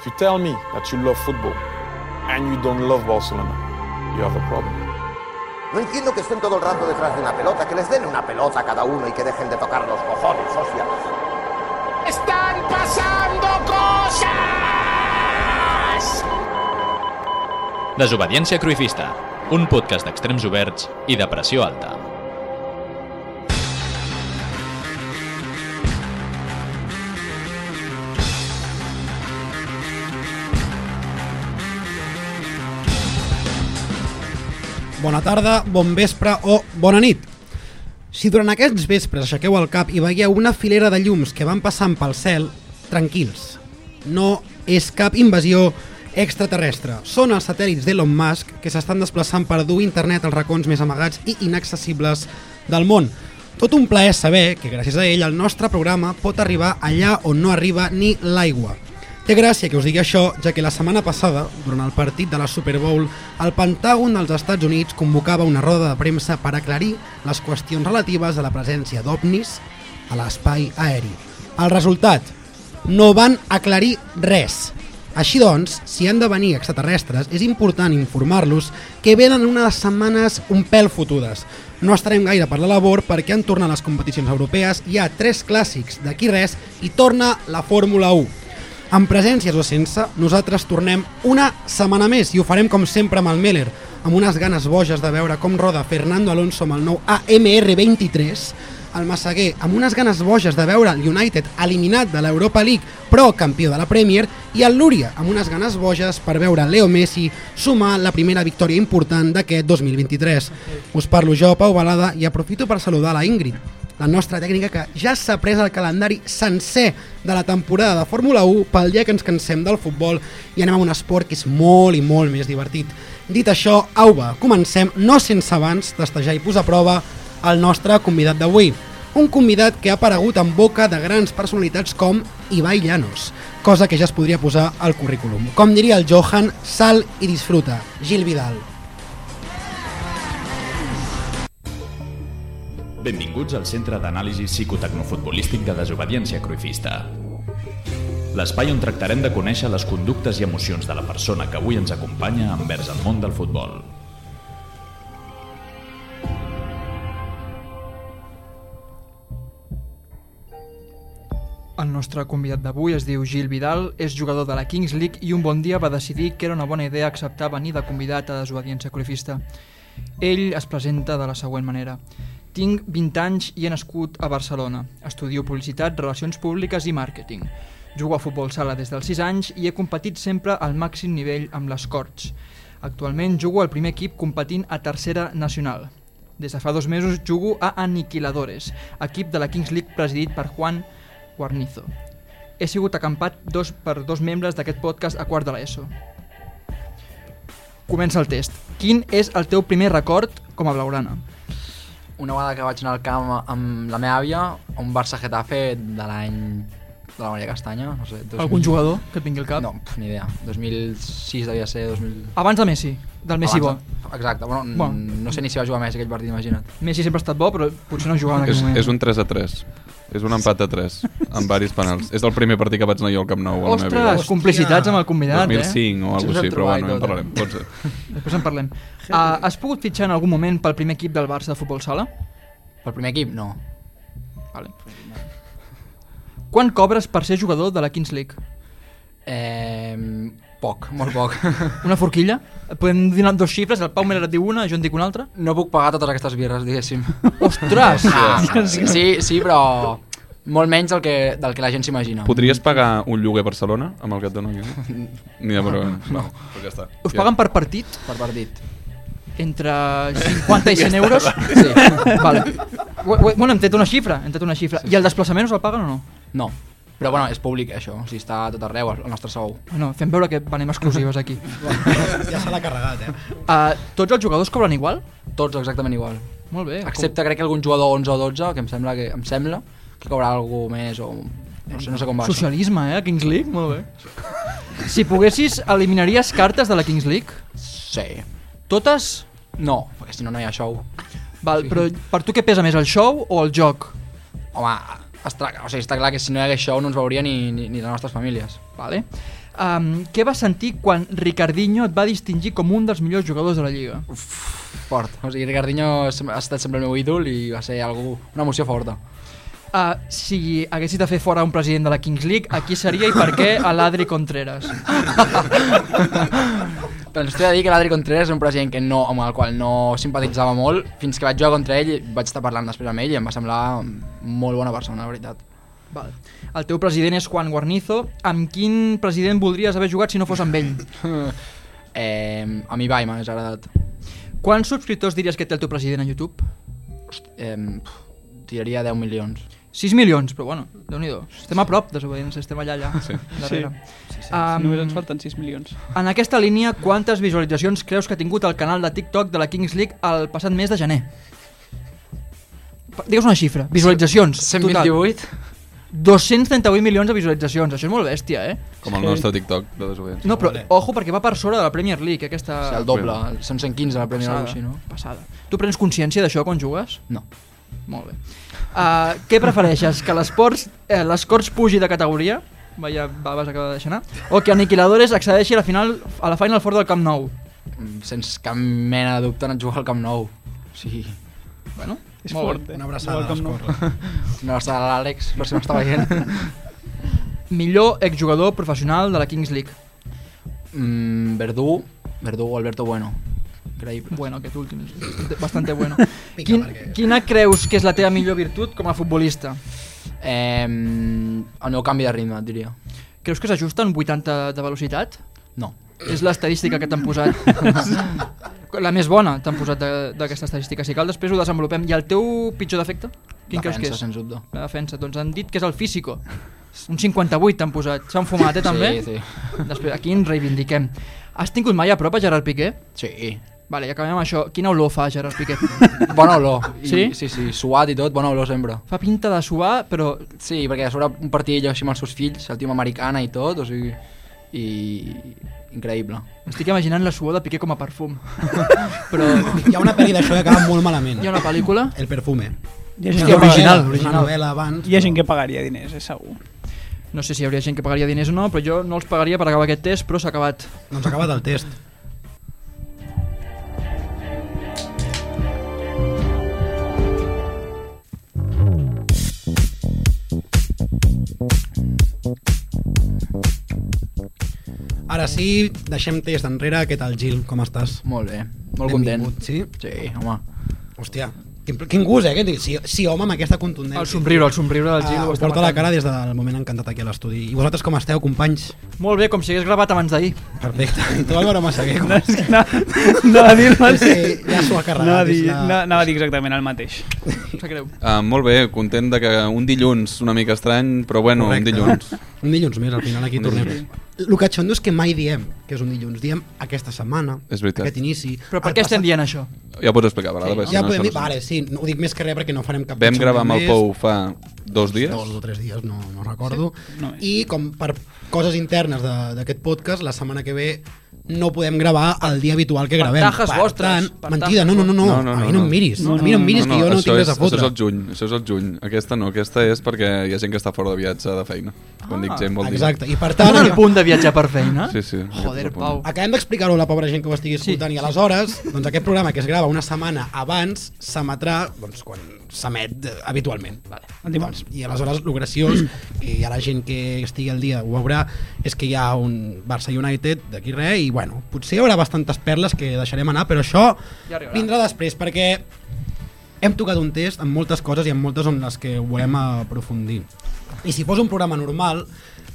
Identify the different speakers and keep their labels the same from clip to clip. Speaker 1: If you tell me that you love football and you don't love Barcelona, you have a problem.
Speaker 2: No entiendo que estén todo el rato detrás de una pelota, que les den una pelota a cada uno y que dejen de tocar los cojones, hostia.
Speaker 3: ¡Están pasando cosas!
Speaker 4: Desobediència Cruifista, un podcast d'extrems oberts i de pressió alta.
Speaker 5: bona tarda, bon vespre o bona nit. Si durant aquests vespres aixequeu el cap i veieu una filera de llums que van passant pel cel, tranquils. No és cap invasió extraterrestre. Són els satèl·lits d'Elon Musk que s'estan desplaçant per dur internet als racons més amagats i inaccessibles del món. Tot un plaer saber que gràcies a ell el nostre programa pot arribar allà on no arriba ni l'aigua. Té gràcia que us digui això, ja que la setmana passada, durant el partit de la Super Bowl, el Pentàgon dels Estats Units convocava una roda de premsa per aclarir les qüestions relatives a la presència d'ovnis a l'espai aeri. El resultat? No van aclarir res. Així doncs, si han de venir extraterrestres, és important informar-los que venen unes setmanes un pèl fotudes. No estarem gaire per la labor perquè han tornat les competicions europees, hi ha tres clàssics d'aquí res i torna la Fórmula 1. Amb presències o sense, nosaltres tornem una setmana més i ho farem com sempre amb el Meller, amb unes ganes boges de veure com roda Fernando Alonso amb el nou AMR23, el Massaguer amb unes ganes boges de veure el United eliminat de l'Europa League però campió de la Premier i el Lúria amb unes ganes boges per veure Leo Messi sumar la primera victòria important d'aquest 2023. Us parlo jo, Pau Balada, i aprofito per saludar la Ingrid, la nostra tècnica que ja s'ha pres el calendari sencer de la temporada de Fórmula 1 pel dia que ens cansem del futbol i anem a un esport que és molt i molt més divertit. Dit això, au va, comencem no sense abans testejar i posar a prova el nostre convidat d'avui. Un convidat que ha aparegut en boca de grans personalitats com Ibai Llanos, cosa que ja es podria posar al currículum. Com diria el Johan, sal i disfruta. Gil Vidal.
Speaker 4: Benvinguts al Centre d'Anàlisi Psicotecnofutbolístic de Desobediència Cruifista. L'espai on tractarem de conèixer les conductes i emocions de la persona que avui ens acompanya envers el món del futbol.
Speaker 6: El nostre convidat d'avui es diu Gil Vidal, és jugador de la Kings League i un bon dia va decidir que era una bona idea acceptar venir de convidat a desobediència sacrifista. Ell es presenta de la següent manera. Tinc 20 anys i he nascut a Barcelona. Estudio publicitat, relacions públiques i màrqueting. Jugo a futbol sala des dels 6 anys i he competit sempre al màxim nivell amb les Corts. Actualment jugo al primer equip competint a tercera nacional. Des de fa dos mesos jugo a Aniquiladores, equip de la Kings League presidit per Juan Guarnizo. He sigut acampat dos per dos membres d'aquest podcast a quart de l'ESO. Comença el test. Quin és el teu primer record com a blaurana?
Speaker 7: Una vegada que vaig anar al camp amb la meva àvia, a un Barça Getafe de l'any de la Maria Castanya, no sé... 2000...
Speaker 6: Algun jugador que et vingui al cap?
Speaker 7: No, pf, ni idea. 2006 devia ser, 2000...
Speaker 6: Abans de Messi, del Messi
Speaker 7: Abans
Speaker 6: bo.
Speaker 7: de- Exacte, bueno,
Speaker 6: Bo.
Speaker 7: n- no sé ni si va jugar més aquell partit, imagina't.
Speaker 6: Messi sempre ha estat bo, però potser no jugava en aquell
Speaker 8: És,
Speaker 6: moment.
Speaker 8: és un 3 a 3. És un empat a 3, amb varis penals. És el primer partit que vaig anar jo al Camp Nou a la meva vida.
Speaker 6: Ostres, complicitats amb el convidat, eh?
Speaker 8: 2005 o
Speaker 7: Si us
Speaker 8: alguna
Speaker 7: en
Speaker 8: cosa així, però
Speaker 7: trobeu,
Speaker 8: bueno, ja en
Speaker 7: tot, eh?
Speaker 8: parlarem. Pot ser.
Speaker 6: Després en parlem. Uh, has pogut fitxar en algun moment pel primer equip del Barça de futbol sala?
Speaker 7: Pel primer equip, no.
Speaker 6: Vale. Quan cobres per ser jugador de la Kings League?
Speaker 7: Eh, poc, molt poc.
Speaker 6: Una forquilla? Podem donar dos xifres, el Pau Meller et diu una, jo en dic una altra?
Speaker 7: No puc pagar totes aquestes birres, diguéssim.
Speaker 6: Ostres!
Speaker 7: Ah, sí, sí, però molt menys del que, del que la gent s'imagina.
Speaker 8: Podries pagar un lloguer a Barcelona amb el que et dono aquí? Ni de broma. No. Pues ja està.
Speaker 6: Us paguen per partit?
Speaker 7: Per partit.
Speaker 6: Entre 50 i 100 euros? Sí. Vale. Ho- ho- Bueno, hem tret una xifra, hem tret una xifra. I el desplaçament us el paguen o no?
Speaker 7: No. Però bueno, és públic això, o sigui, està a tot arreu, el nostre sou.
Speaker 6: Bueno, fem veure que venem exclusives aquí.
Speaker 5: Ja se l'ha carregat, eh?
Speaker 6: Uh, tots els jugadors cobren igual?
Speaker 7: Tots exactament igual.
Speaker 6: Molt bé.
Speaker 7: Excepte crec que algun jugador 11 o 12, que em sembla que, em sembla que cobrarà algú més o... No sé, no sé com va això.
Speaker 6: Socialisme, eh? a Kings League, molt bé. Si poguessis, eliminaries cartes de la Kings League?
Speaker 7: Sí.
Speaker 6: Totes?
Speaker 7: No, perquè si no, no hi ha show.
Speaker 6: Val, però per tu què pesa més, el show o el joc?
Speaker 7: Home, està, o sigui, està clar que si no hi hagués show no ens veuria ni, ni, ni les nostres famílies.
Speaker 6: Vale. Um, què vas sentir quan Ricardinho et va distingir com un dels millors jugadors de la Lliga?
Speaker 7: Fort. O sigui, Ricardinho sem- ha estat sempre el meu ídol i va ser algú, una emoció forta.
Speaker 6: Uh, si haguessis de fer fora un president de la Kings League, a qui seria i per què a l'Adri Contreras?
Speaker 7: Doncs t'he de dir que l'Adri Contreras és un president que no, amb el qual no simpatitzava molt, fins que vaig jugar contra ell i vaig estar parlant després amb ell i em va semblar molt bona persona, la veritat.
Speaker 6: Val. El teu president és Juan Guarnizo. Amb quin president voldries haver jugat si no fos amb ell?
Speaker 7: Eh, a mi Bai m'hagués agradat.
Speaker 6: Quants subscriptors diries que té el teu president a YouTube?
Speaker 7: Eh, pf, tiraria 10 milions.
Speaker 6: 6 milions, però bueno, déu nhi Estem a prop, desobedients, estem allà, allà, sí. darrere. Sí. Sí, sí. Um,
Speaker 9: Només ens falten 6 milions.
Speaker 6: En aquesta línia, quantes visualitzacions creus que ha tingut el canal de TikTok de la Kings League el passat mes de gener? Pa- Digues una xifra. Visualitzacions. Total.
Speaker 7: 128?
Speaker 6: 238 milions de visualitzacions. Això és molt bèstia, eh?
Speaker 8: Com el nostre TikTok de desobediència.
Speaker 6: No, però ojo perquè va per sobre de la Premier League, aquesta...
Speaker 7: Sí, el doble, són 115 la primera
Speaker 6: Passada,
Speaker 7: o així, no?
Speaker 6: passada. Tu prens consciència d'això quan jugues?
Speaker 7: No.
Speaker 6: Molt bé. Uh, què prefereixes? Que l'esports eh, l'escorts pugi de categoria? Vaya, babes acaba de deixar anar. O que Aniquiladores accedeixi a la, final, a la Final Four del Camp Nou?
Speaker 7: Mm, Sense cap mena de dubte anar a jugar al Camp Nou. O sigui,
Speaker 6: Bueno,
Speaker 9: És
Speaker 6: molt
Speaker 9: fort, eh?
Speaker 5: Una abraçada
Speaker 9: Igual
Speaker 5: a les
Speaker 9: com no.
Speaker 5: corts.
Speaker 7: no està l'Àlex, però si m'està veient.
Speaker 6: bé. Millor exjugador professional de la Kings League.
Speaker 7: Mm, Verdú, Verdú o Alberto Bueno. Increïble.
Speaker 6: Bueno, aquest últim és bastante bueno.
Speaker 5: Pica,
Speaker 6: Quin,
Speaker 5: perquè-
Speaker 6: quina creus que és la teva millor virtut com a futbolista?
Speaker 7: Eh, el meu canvi de ritme, et diria.
Speaker 6: Creus que s'ajusta en 80 de velocitat?
Speaker 7: No.
Speaker 6: És l'estadística que t'han posat. la més bona t'han posat de- d'aquesta estadística. Si cal, després ho desenvolupem. I el teu pitjor defecte? Quin creus que
Speaker 7: Defensa,
Speaker 6: és?
Speaker 7: Sens dubte.
Speaker 6: La defensa. Doncs han dit que és el físico. Un 58 t'han posat. S'han fumat, eh, també?
Speaker 7: Sí, sí.
Speaker 6: Després, aquí ens reivindiquem. Has tingut mai a prop a Gerard Piqué?
Speaker 7: Sí.
Speaker 6: Vale, i acabem amb això. Quina olor fa Gerard Piqué?
Speaker 7: Bona olor. I,
Speaker 6: Ah. Sí?
Speaker 7: Sí, sí, suat i tot, bona olor sempre.
Speaker 6: Fa pinta de suar, però
Speaker 7: Sí, perquè a sobre un partidillo així amb els seus fills, el tio americana i tot, o sigui... I... Increïble.
Speaker 6: estic imaginant la suor de Piqué com a perfum. però
Speaker 5: Hi ha una pel·li d'això que acaba molt malament.
Speaker 6: hi ha una pel·lícula...
Speaker 5: El perfume.
Speaker 9: Hi ha gent,
Speaker 5: Una
Speaker 9: que,
Speaker 5: novel·la,
Speaker 9: original,
Speaker 5: Una
Speaker 9: original.
Speaker 5: novel·la abans.
Speaker 9: Hi ha gent que pagaria diners, és segur.
Speaker 6: No sé si hi hauria gent que pagaria diners o no, però jo no els pagaria per acabar aquest test, però s'ha acabat.
Speaker 5: Doncs ha acabat el test. Ara sí, deixem test enrere. Què tal, Gil? Com estàs?
Speaker 7: Molt bé, molt content.
Speaker 5: Benvingut, Sí?
Speaker 7: Sí, home.
Speaker 5: Hòstia, quin, quin gust, eh? Aquest? Sí, sí, home, amb aquesta contundència.
Speaker 6: El somriure, el somriure del Gil.
Speaker 5: Ah,
Speaker 6: ho
Speaker 5: us
Speaker 6: està
Speaker 5: porta la
Speaker 6: matant.
Speaker 5: cara des del moment encantat aquí a l'estudi. I vosaltres com esteu, companys?
Speaker 6: Molt bé, com si hagués gravat abans d'ahir.
Speaker 5: Perfecte. I tu, Álvaro Massaguer, com
Speaker 9: És que anava, anava a dir-me...
Speaker 5: Sí, ja s'ho ha carregat,
Speaker 9: Anava a dir,
Speaker 5: és la-
Speaker 9: anava- anava a dir exactament el mateix.
Speaker 6: Em sap greu.
Speaker 8: Uh, molt bé, content de que un dilluns una mica estrany, però bueno,
Speaker 5: Correcte.
Speaker 8: un dilluns.
Speaker 5: Un dilluns més, al final aquí
Speaker 8: Un
Speaker 5: tornem.
Speaker 8: dilluns
Speaker 5: El que xondo és que mai diem que és un dilluns, diem aquesta setmana,
Speaker 8: És veritat.
Speaker 5: aquest inici...
Speaker 6: Però per
Speaker 5: el
Speaker 6: què estem
Speaker 5: passat-
Speaker 6: dient això?
Speaker 8: Ja pots explicar, a vegades. perquè si
Speaker 5: Ja
Speaker 8: no,
Speaker 5: podem
Speaker 8: això
Speaker 5: dir,
Speaker 8: no sé.
Speaker 5: vale, sí, no, ho dic més que res perquè no farem cap...
Speaker 8: Vam
Speaker 5: pitxo
Speaker 8: gravar amb el
Speaker 5: més.
Speaker 8: Pou fa dos dies.
Speaker 5: Dos o tres dies, no, no recordo. Sí,
Speaker 9: no és.
Speaker 5: I com per coses internes de- d'aquest podcast, la setmana que ve no podem gravar el dia habitual que gravem.
Speaker 6: tajes
Speaker 5: Per
Speaker 6: vostres,
Speaker 5: tant,
Speaker 6: per
Speaker 5: mentida, no, no, no, no,
Speaker 8: No, no,
Speaker 5: a mi
Speaker 8: no,
Speaker 5: no
Speaker 8: no.
Speaker 5: em miris,
Speaker 9: No,
Speaker 5: a mi no em
Speaker 9: no,
Speaker 5: miris que jo no
Speaker 8: això
Speaker 5: tinc res
Speaker 8: és,
Speaker 5: a fotre.
Speaker 8: Això és el juny, això és el juny. Aquesta no, aquesta és perquè hi ha gent que està fora de viatge de feina. Quan dic gent vol dir...
Speaker 5: Ah, Exacte, i per tant...
Speaker 6: Estàvem en el punt de viatjar per feina?
Speaker 8: Sí, sí.
Speaker 6: Joder,
Speaker 8: aquest és el
Speaker 6: Pau.
Speaker 8: punt.
Speaker 5: Acabem d'explicar-ho a la pobra gent que ho estigui
Speaker 6: Sí,
Speaker 5: escoltant sí, i aleshores, doncs aquest programa que es grava una setmana abans s'emetrà doncs, quan s'emet eh, habitualment. Vale.
Speaker 9: El dimarts.
Speaker 5: I aleshores el graciós, que ja la gent que estigui al dia ho veurà, és que hi ha un Barça United d'aquí res i bueno, potser hi haurà bastantes perles que deixarem anar, però això
Speaker 6: Ja arribarà.
Speaker 5: vindrà després perquè hem tocat un test amb moltes coses i amb moltes en les que ho volem aprofundir. I si fos un programa normal,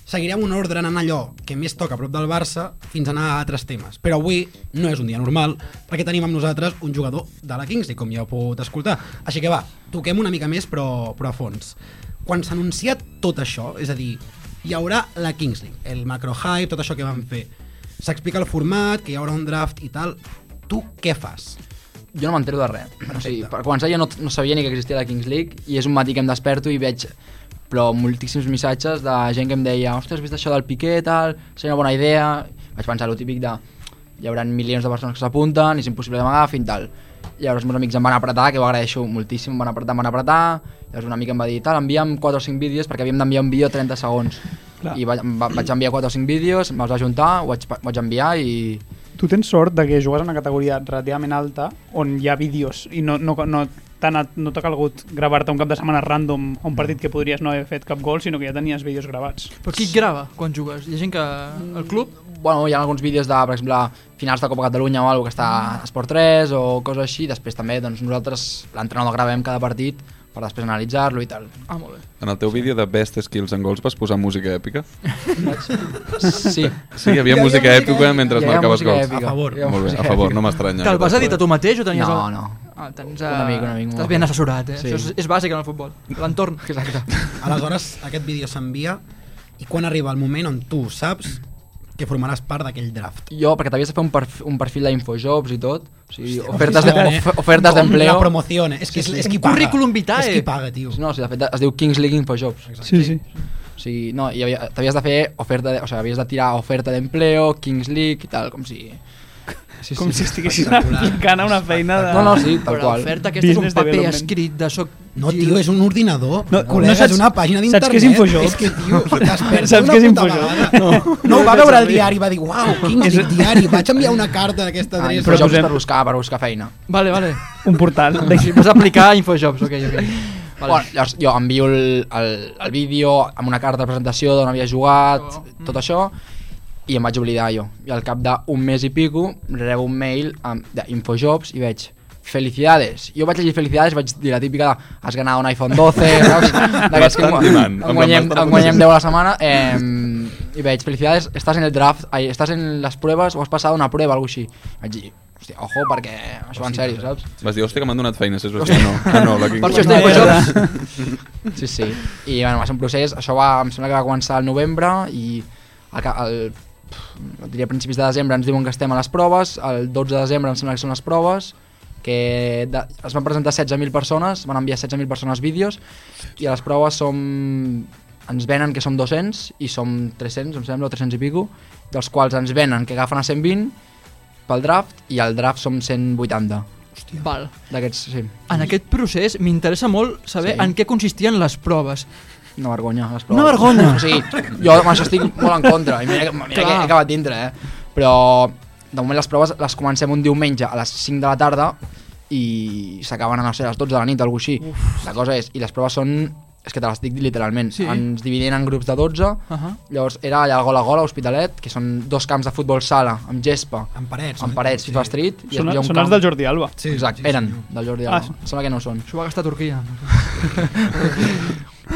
Speaker 5: seguirem un ordre anant allò que més toca a prop del Barça fins a anar a altres temes. Però avui no és un dia normal, perquè tenim amb nosaltres un jugador de la Kingsley, com ja heu pogut escoltar. Així que va, toquem una mica més, però, però a fons. Quan s'ha anunciat tot això, és a dir, hi haurà la Kingsley, el macrohype, tot això que van fer, s'explica el format, que hi haurà un draft i tal, tu què fas?
Speaker 7: Jo no m'entero de res. O sigui, per començar, jo no, no sabia ni que existia la Kings League i és un matí que em desperto i veig però moltíssims missatges de gent que em deia ostres, has vist això del Piqué, tal, seria una bona idea... Vaig pensar lo típic de hi haurà milions de persones que s'apunten, és impossible que m'agafin, tal. Llavors meus amics em van apretar, que ho agraeixo moltíssim, em van apretar, em van apretar, llavors un amic em va dir, tal, envia'm 4 o 5 vídeos perquè havíem d'enviar un vídeo a 30 segons.
Speaker 9: Clar.
Speaker 7: I va, va, vaig enviar 4 o 5 vídeos, me'ls va juntar, ho vaig, pa- vaig enviar i...
Speaker 9: Tu tens sort de que jugues en una categoria relativament alta on hi ha vídeos i no, no, no t'ha anat- no t'ha calgut gravar-te un cap de setmana random a un partit que podries no haver fet cap gol, sinó que ja tenies vídeos gravats.
Speaker 6: Però qui et grava quan jugues? Hi ha gent que... El club?
Speaker 7: Bueno, hi ha alguns vídeos de, per exemple, finals de Copa Catalunya o alguna que està a Esport 3 o coses així. Després també doncs, nosaltres l'entrenador gravem cada partit per després analitzar-lo i tal.
Speaker 6: Ah, molt bé.
Speaker 8: En el teu vídeo de Best Skills en Gols vas posar música èpica?
Speaker 7: Sí.
Speaker 8: Sí, hi havia música èpica mentre
Speaker 7: Hi
Speaker 8: es
Speaker 7: havia
Speaker 8: marcaves
Speaker 7: música
Speaker 8: gols.
Speaker 7: èpica.
Speaker 5: A favor.
Speaker 7: Hi havia
Speaker 8: Molt bé,
Speaker 7: música
Speaker 8: a favor, no m'estranya.
Speaker 6: Te'l vas editar tu mateix o tenies...
Speaker 7: No,
Speaker 6: el...
Speaker 7: no.
Speaker 6: Ah, tens,
Speaker 7: Un amic, un amic molt
Speaker 6: Estàs ben
Speaker 7: bé.
Speaker 6: assessorat, eh?
Speaker 7: Sí.
Speaker 6: Sí. Això és, és bàsic en el futbol. L'entorn.
Speaker 7: Exacte.
Speaker 5: Aleshores, aquest vídeo s'envia i quan arriba el moment on tu saps que formaràs part d'aquell draft.
Speaker 7: Jo, perquè t'havies de fer un, perfil, un perfil d'Infojobs i tot, o sigui,
Speaker 5: Hòstia, eh?
Speaker 7: ofertes de-
Speaker 5: com-
Speaker 7: of- ofertes
Speaker 5: com
Speaker 7: d'empleo...
Speaker 5: La promoció, eh? és que és,
Speaker 7: Sí, sí.
Speaker 5: és qui
Speaker 6: Un
Speaker 5: paga.
Speaker 6: currículum vitae.
Speaker 5: És qui paga, tio.
Speaker 7: No, o sigui, de fet es diu Kings League Infojobs.
Speaker 9: Sí, sí.
Speaker 7: O sigui, no, i havia- t'havies de fer oferta, de, o sigui, havies de tirar oferta d'empleo, Kings League i tal, com si... Sí,
Speaker 9: Com si estiguessis aplicant a una feina de...
Speaker 7: No, no, sí, tal
Speaker 6: Però
Speaker 7: qual.
Speaker 6: l'oferta aquesta és un
Speaker 9: Business
Speaker 6: paper
Speaker 9: development.
Speaker 6: escrit de soc...
Speaker 5: No, tio, és un ordinador.
Speaker 9: No,
Speaker 5: No,
Speaker 9: no
Speaker 5: Col·lega,
Speaker 9: saps-
Speaker 5: és una pàgina d'internet.
Speaker 9: saps què és Infojobs?
Speaker 5: És que, tio, t'has perdut
Speaker 9: Saps
Speaker 5: una
Speaker 9: què és
Speaker 5: puta
Speaker 9: Infojobs?
Speaker 5: vegada. No, no, va veure el diari i va dir, uau, Kings League diari, vaig enviar una carta a aquesta
Speaker 7: Ah,
Speaker 5: adreça.
Speaker 7: Infojobs
Speaker 9: posem-
Speaker 7: per buscar, per buscar feina.
Speaker 6: Vale, vale.
Speaker 9: Un portal.
Speaker 6: Així, vas aplicar a Infojobs, ok, ok. Vale.
Speaker 7: Vale. Bueno, llavors jo envio el, el, el vídeo amb una carta de presentació d'on havia jugat,
Speaker 6: Oh.
Speaker 7: tot Mm-hmm. això, i em vaig oblidar jo. I al cap d'un mes i pico rebo un mail amb- d'Infojobs i veig Felicidades. Jo vaig llegir Felicidades i vaig dir la típica de, has ganat un iPhone 12, saps? D'aquests que en,
Speaker 8: Bastant timant,
Speaker 7: en
Speaker 8: amb la
Speaker 7: guanyem,
Speaker 8: bastant
Speaker 7: en guanyem 10 a la setmana. Eh, I veig Felicidades, estàs en el draft, ai, estàs en les proves o has passat una prueba, alguna així. Vaig dir, hòstia, ojo, perquè això va en sèrio, saps?
Speaker 8: Vas dir, hòstia, que m'han donat feines, és hòstia, no. Ah, no, la Kings
Speaker 7: Per això estem a Jobs. Sí, sí. I bueno, va ser un procés, això va, em sembla que va començar al novembre i al, ca- al pff, diria a principis de desembre ens diuen que estem a les proves, el 12 de desembre em sembla que són les proves, que de, es van presentar 16.000 persones, van enviar 16.000 persones vídeos i a les proves som ens venen que som 200 i som 300, em sembla, o 300 i pico, dels quals ens venen que agafen a 120 pel draft i al draft som 180
Speaker 6: Val.
Speaker 7: d'aquests, sí,
Speaker 6: En aquest procés m'interessa molt saber
Speaker 7: Sí.
Speaker 6: en què consistien les proves.
Speaker 7: Una vergonya, les proves.
Speaker 6: Una vergonya.
Speaker 7: O sigui, jo amb això estic molt en contra. I mira, que- mira que
Speaker 6: Clar.
Speaker 7: he acabat dintre, eh? Però de moment les proves les comencem un diumenge a les 5 de la tarda i s'acaben a, no sé, a les 12 de la nit o alguna així. La cosa és, i les proves són... És que te les dic literalment.
Speaker 6: Sí.
Speaker 7: Ens dividien en grups de 12,
Speaker 6: Uh -huh.
Speaker 7: llavors era allà al Gola Gola, Hospitalet, que són dos camps de futbol sala, amb gespa,
Speaker 5: Amb parets.
Speaker 7: amb
Speaker 5: eh?
Speaker 7: parets,
Speaker 5: Sí.
Speaker 7: FIFA Street, i
Speaker 9: Són,
Speaker 7: es veia un
Speaker 9: són
Speaker 7: camp...
Speaker 9: els del Jordi Alba.
Speaker 5: Sí,
Speaker 7: Exacte,
Speaker 5: sí, sí,
Speaker 7: eren
Speaker 5: sí.
Speaker 7: del Jordi
Speaker 9: Ah,
Speaker 7: Alba. Em sembla que no ho són.
Speaker 6: S'ho va gastar a Turquia.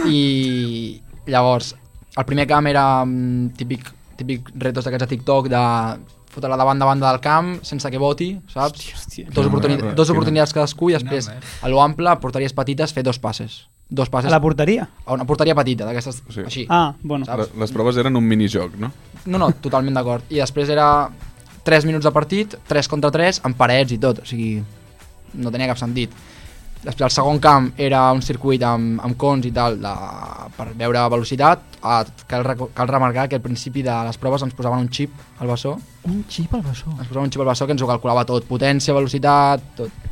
Speaker 7: I llavors, el primer camp era mm, típic, típic retos d'aquests de TikTok de fotre-la davant de banda del camp sense que voti, saps?
Speaker 9: Hòstia.
Speaker 7: Dos, oportuni
Speaker 8: merda,
Speaker 7: dos
Speaker 8: quina-
Speaker 7: oportunitats cadascú i després
Speaker 5: merda.
Speaker 7: a lo ample, porteries petites, fer dos passes. Dos passes
Speaker 9: A la porteria?
Speaker 7: a una porteria petita, d'aquestes
Speaker 8: Sí.
Speaker 7: sí. així.
Speaker 9: Ah, bueno.
Speaker 7: Saps?
Speaker 8: Les proves eren un minijoc, no?
Speaker 7: No, no, totalment d'acord. I després era 3 minuts de partit, 3 contra 3, amb parets i tot, o sigui, no tenia cap sentit. Després el segon camp era un circuit amb, amb cons i tal de, per veure velocitat. Ah, cal, reco- cal remarcar que al principi de les proves ens posaven un xip al bessó.
Speaker 6: Un xip al bessó.
Speaker 7: Ens posaven un xip al bessó que ens ho calculava tot. Potència, velocitat, tot.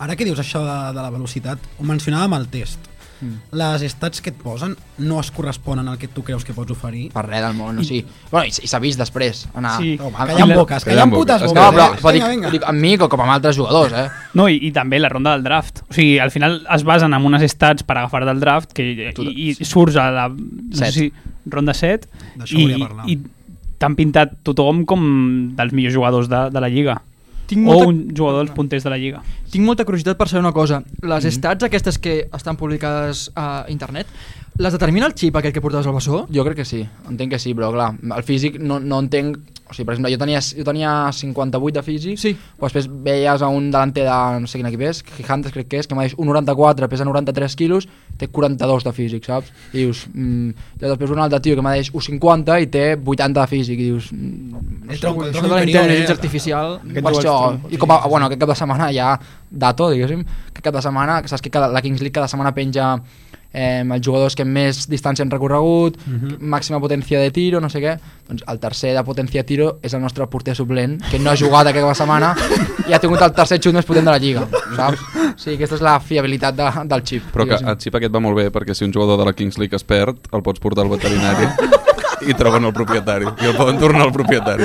Speaker 5: Ara que dius això de, de la velocitat, ho mencionàvem al test. Mm. Les estats que et posen no es corresponen al que tu creus que pots oferir.
Speaker 7: Per res del món, o sigui... Bueno, i, s- i s'ha vist després. Anar,
Speaker 9: Sí.
Speaker 5: Home,
Speaker 7: amb-
Speaker 5: callant
Speaker 9: la-
Speaker 5: boques,
Speaker 8: callant
Speaker 5: callant putes
Speaker 8: boques.
Speaker 5: boques.
Speaker 7: No, però,
Speaker 5: eh?
Speaker 7: però dic,
Speaker 5: Vinga, vinga.
Speaker 7: dic, amb mi com amb altres jugadors, eh?
Speaker 9: No, i, i també la ronda del draft. O sigui, al final es basen en unes estats per agafar del draft que, i,
Speaker 7: Tu-
Speaker 9: i surts a la no sé
Speaker 7: Set.
Speaker 9: si, ronda 7
Speaker 5: D'això
Speaker 9: i,
Speaker 5: volia parlar.
Speaker 9: i t'han pintat tothom com dels millors jugadors de, de la Lliga.
Speaker 6: Tinc
Speaker 9: o
Speaker 6: molta,
Speaker 9: un jugador dels punters de la Lliga.
Speaker 6: tinc molta curiositat per saber una cosa. Les
Speaker 9: Mhm.
Speaker 6: estats aquestes que estan publicades a internet, les determina el xip aquest que portaves al bessó?
Speaker 7: Jo crec que sí, entenc que sí, però clar, el físic no, no entenc... O sigui, per exemple, jo tenia, jo tenia 58 de físic,
Speaker 6: Sí.
Speaker 7: però després veies a un delanter de no sé quin equip és, Gigantes crec que és, que m'ha dit 1,94, pesa 93 quilos, té 42 de físic, saps? I dius, mm, llavors després un altre tio que m'ha dit 1,50 i té 80 de físic, i dius... mm,
Speaker 5: El tronco, el
Speaker 6: Això
Speaker 5: tronco
Speaker 6: de
Speaker 5: interior,
Speaker 6: la
Speaker 5: eh?
Speaker 6: intel·ligència artificial...
Speaker 7: per això, i com a, bueno, aquest cap de setmana ja dato, diguéssim, que cada setmana, que saps que cada, la Kings League cada setmana penja eh, els jugadors que més distància han recorregut, màxima potència de tiro, no sé què, doncs el tercer de potència de tiro és el nostre porter suplent, que no ha jugat aquesta setmana i ha tingut el tercer xut més potent de la Lliga, saps? Sí, aquesta és la fiabilitat de, del xip.
Speaker 8: Però que
Speaker 7: diguéssim.
Speaker 8: el xip aquest va molt bé perquè si un jugador de la Kings League es perd, el pots portar al veterinari. i troben el propietari. I el poden tornar al propietari.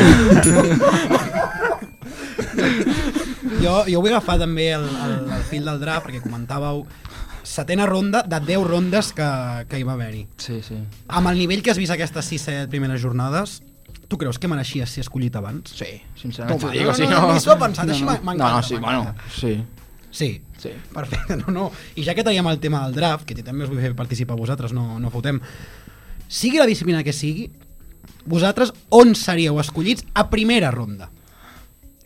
Speaker 5: Jo, jo vull agafar també el, el, el fil del drap, perquè comentàveu setena ronda de 10 rondes que, que hi va haver-hi.
Speaker 7: Sí, sí.
Speaker 5: Amb el nivell que has vist aquestes 6-7 primeres jornades, tu creus que mereixia ser escollit abans?
Speaker 7: Sí, sincerament
Speaker 5: Toma,
Speaker 7: t'ho dic, o sigui,
Speaker 5: no, no,
Speaker 7: no...
Speaker 5: ni s'ho ha pensat, així m'ha-
Speaker 7: no,
Speaker 5: m'encanta,
Speaker 7: no, sí,
Speaker 5: m'encanta.
Speaker 7: bueno, sí.
Speaker 5: Sí.
Speaker 7: Sí.
Speaker 5: Perfecte, no, no. I ja que traiem el tema del draft, que també us vull fer participar vosaltres, no, no fotem. Sigui la disciplina que sigui, vosaltres on seríeu escollits a primera ronda?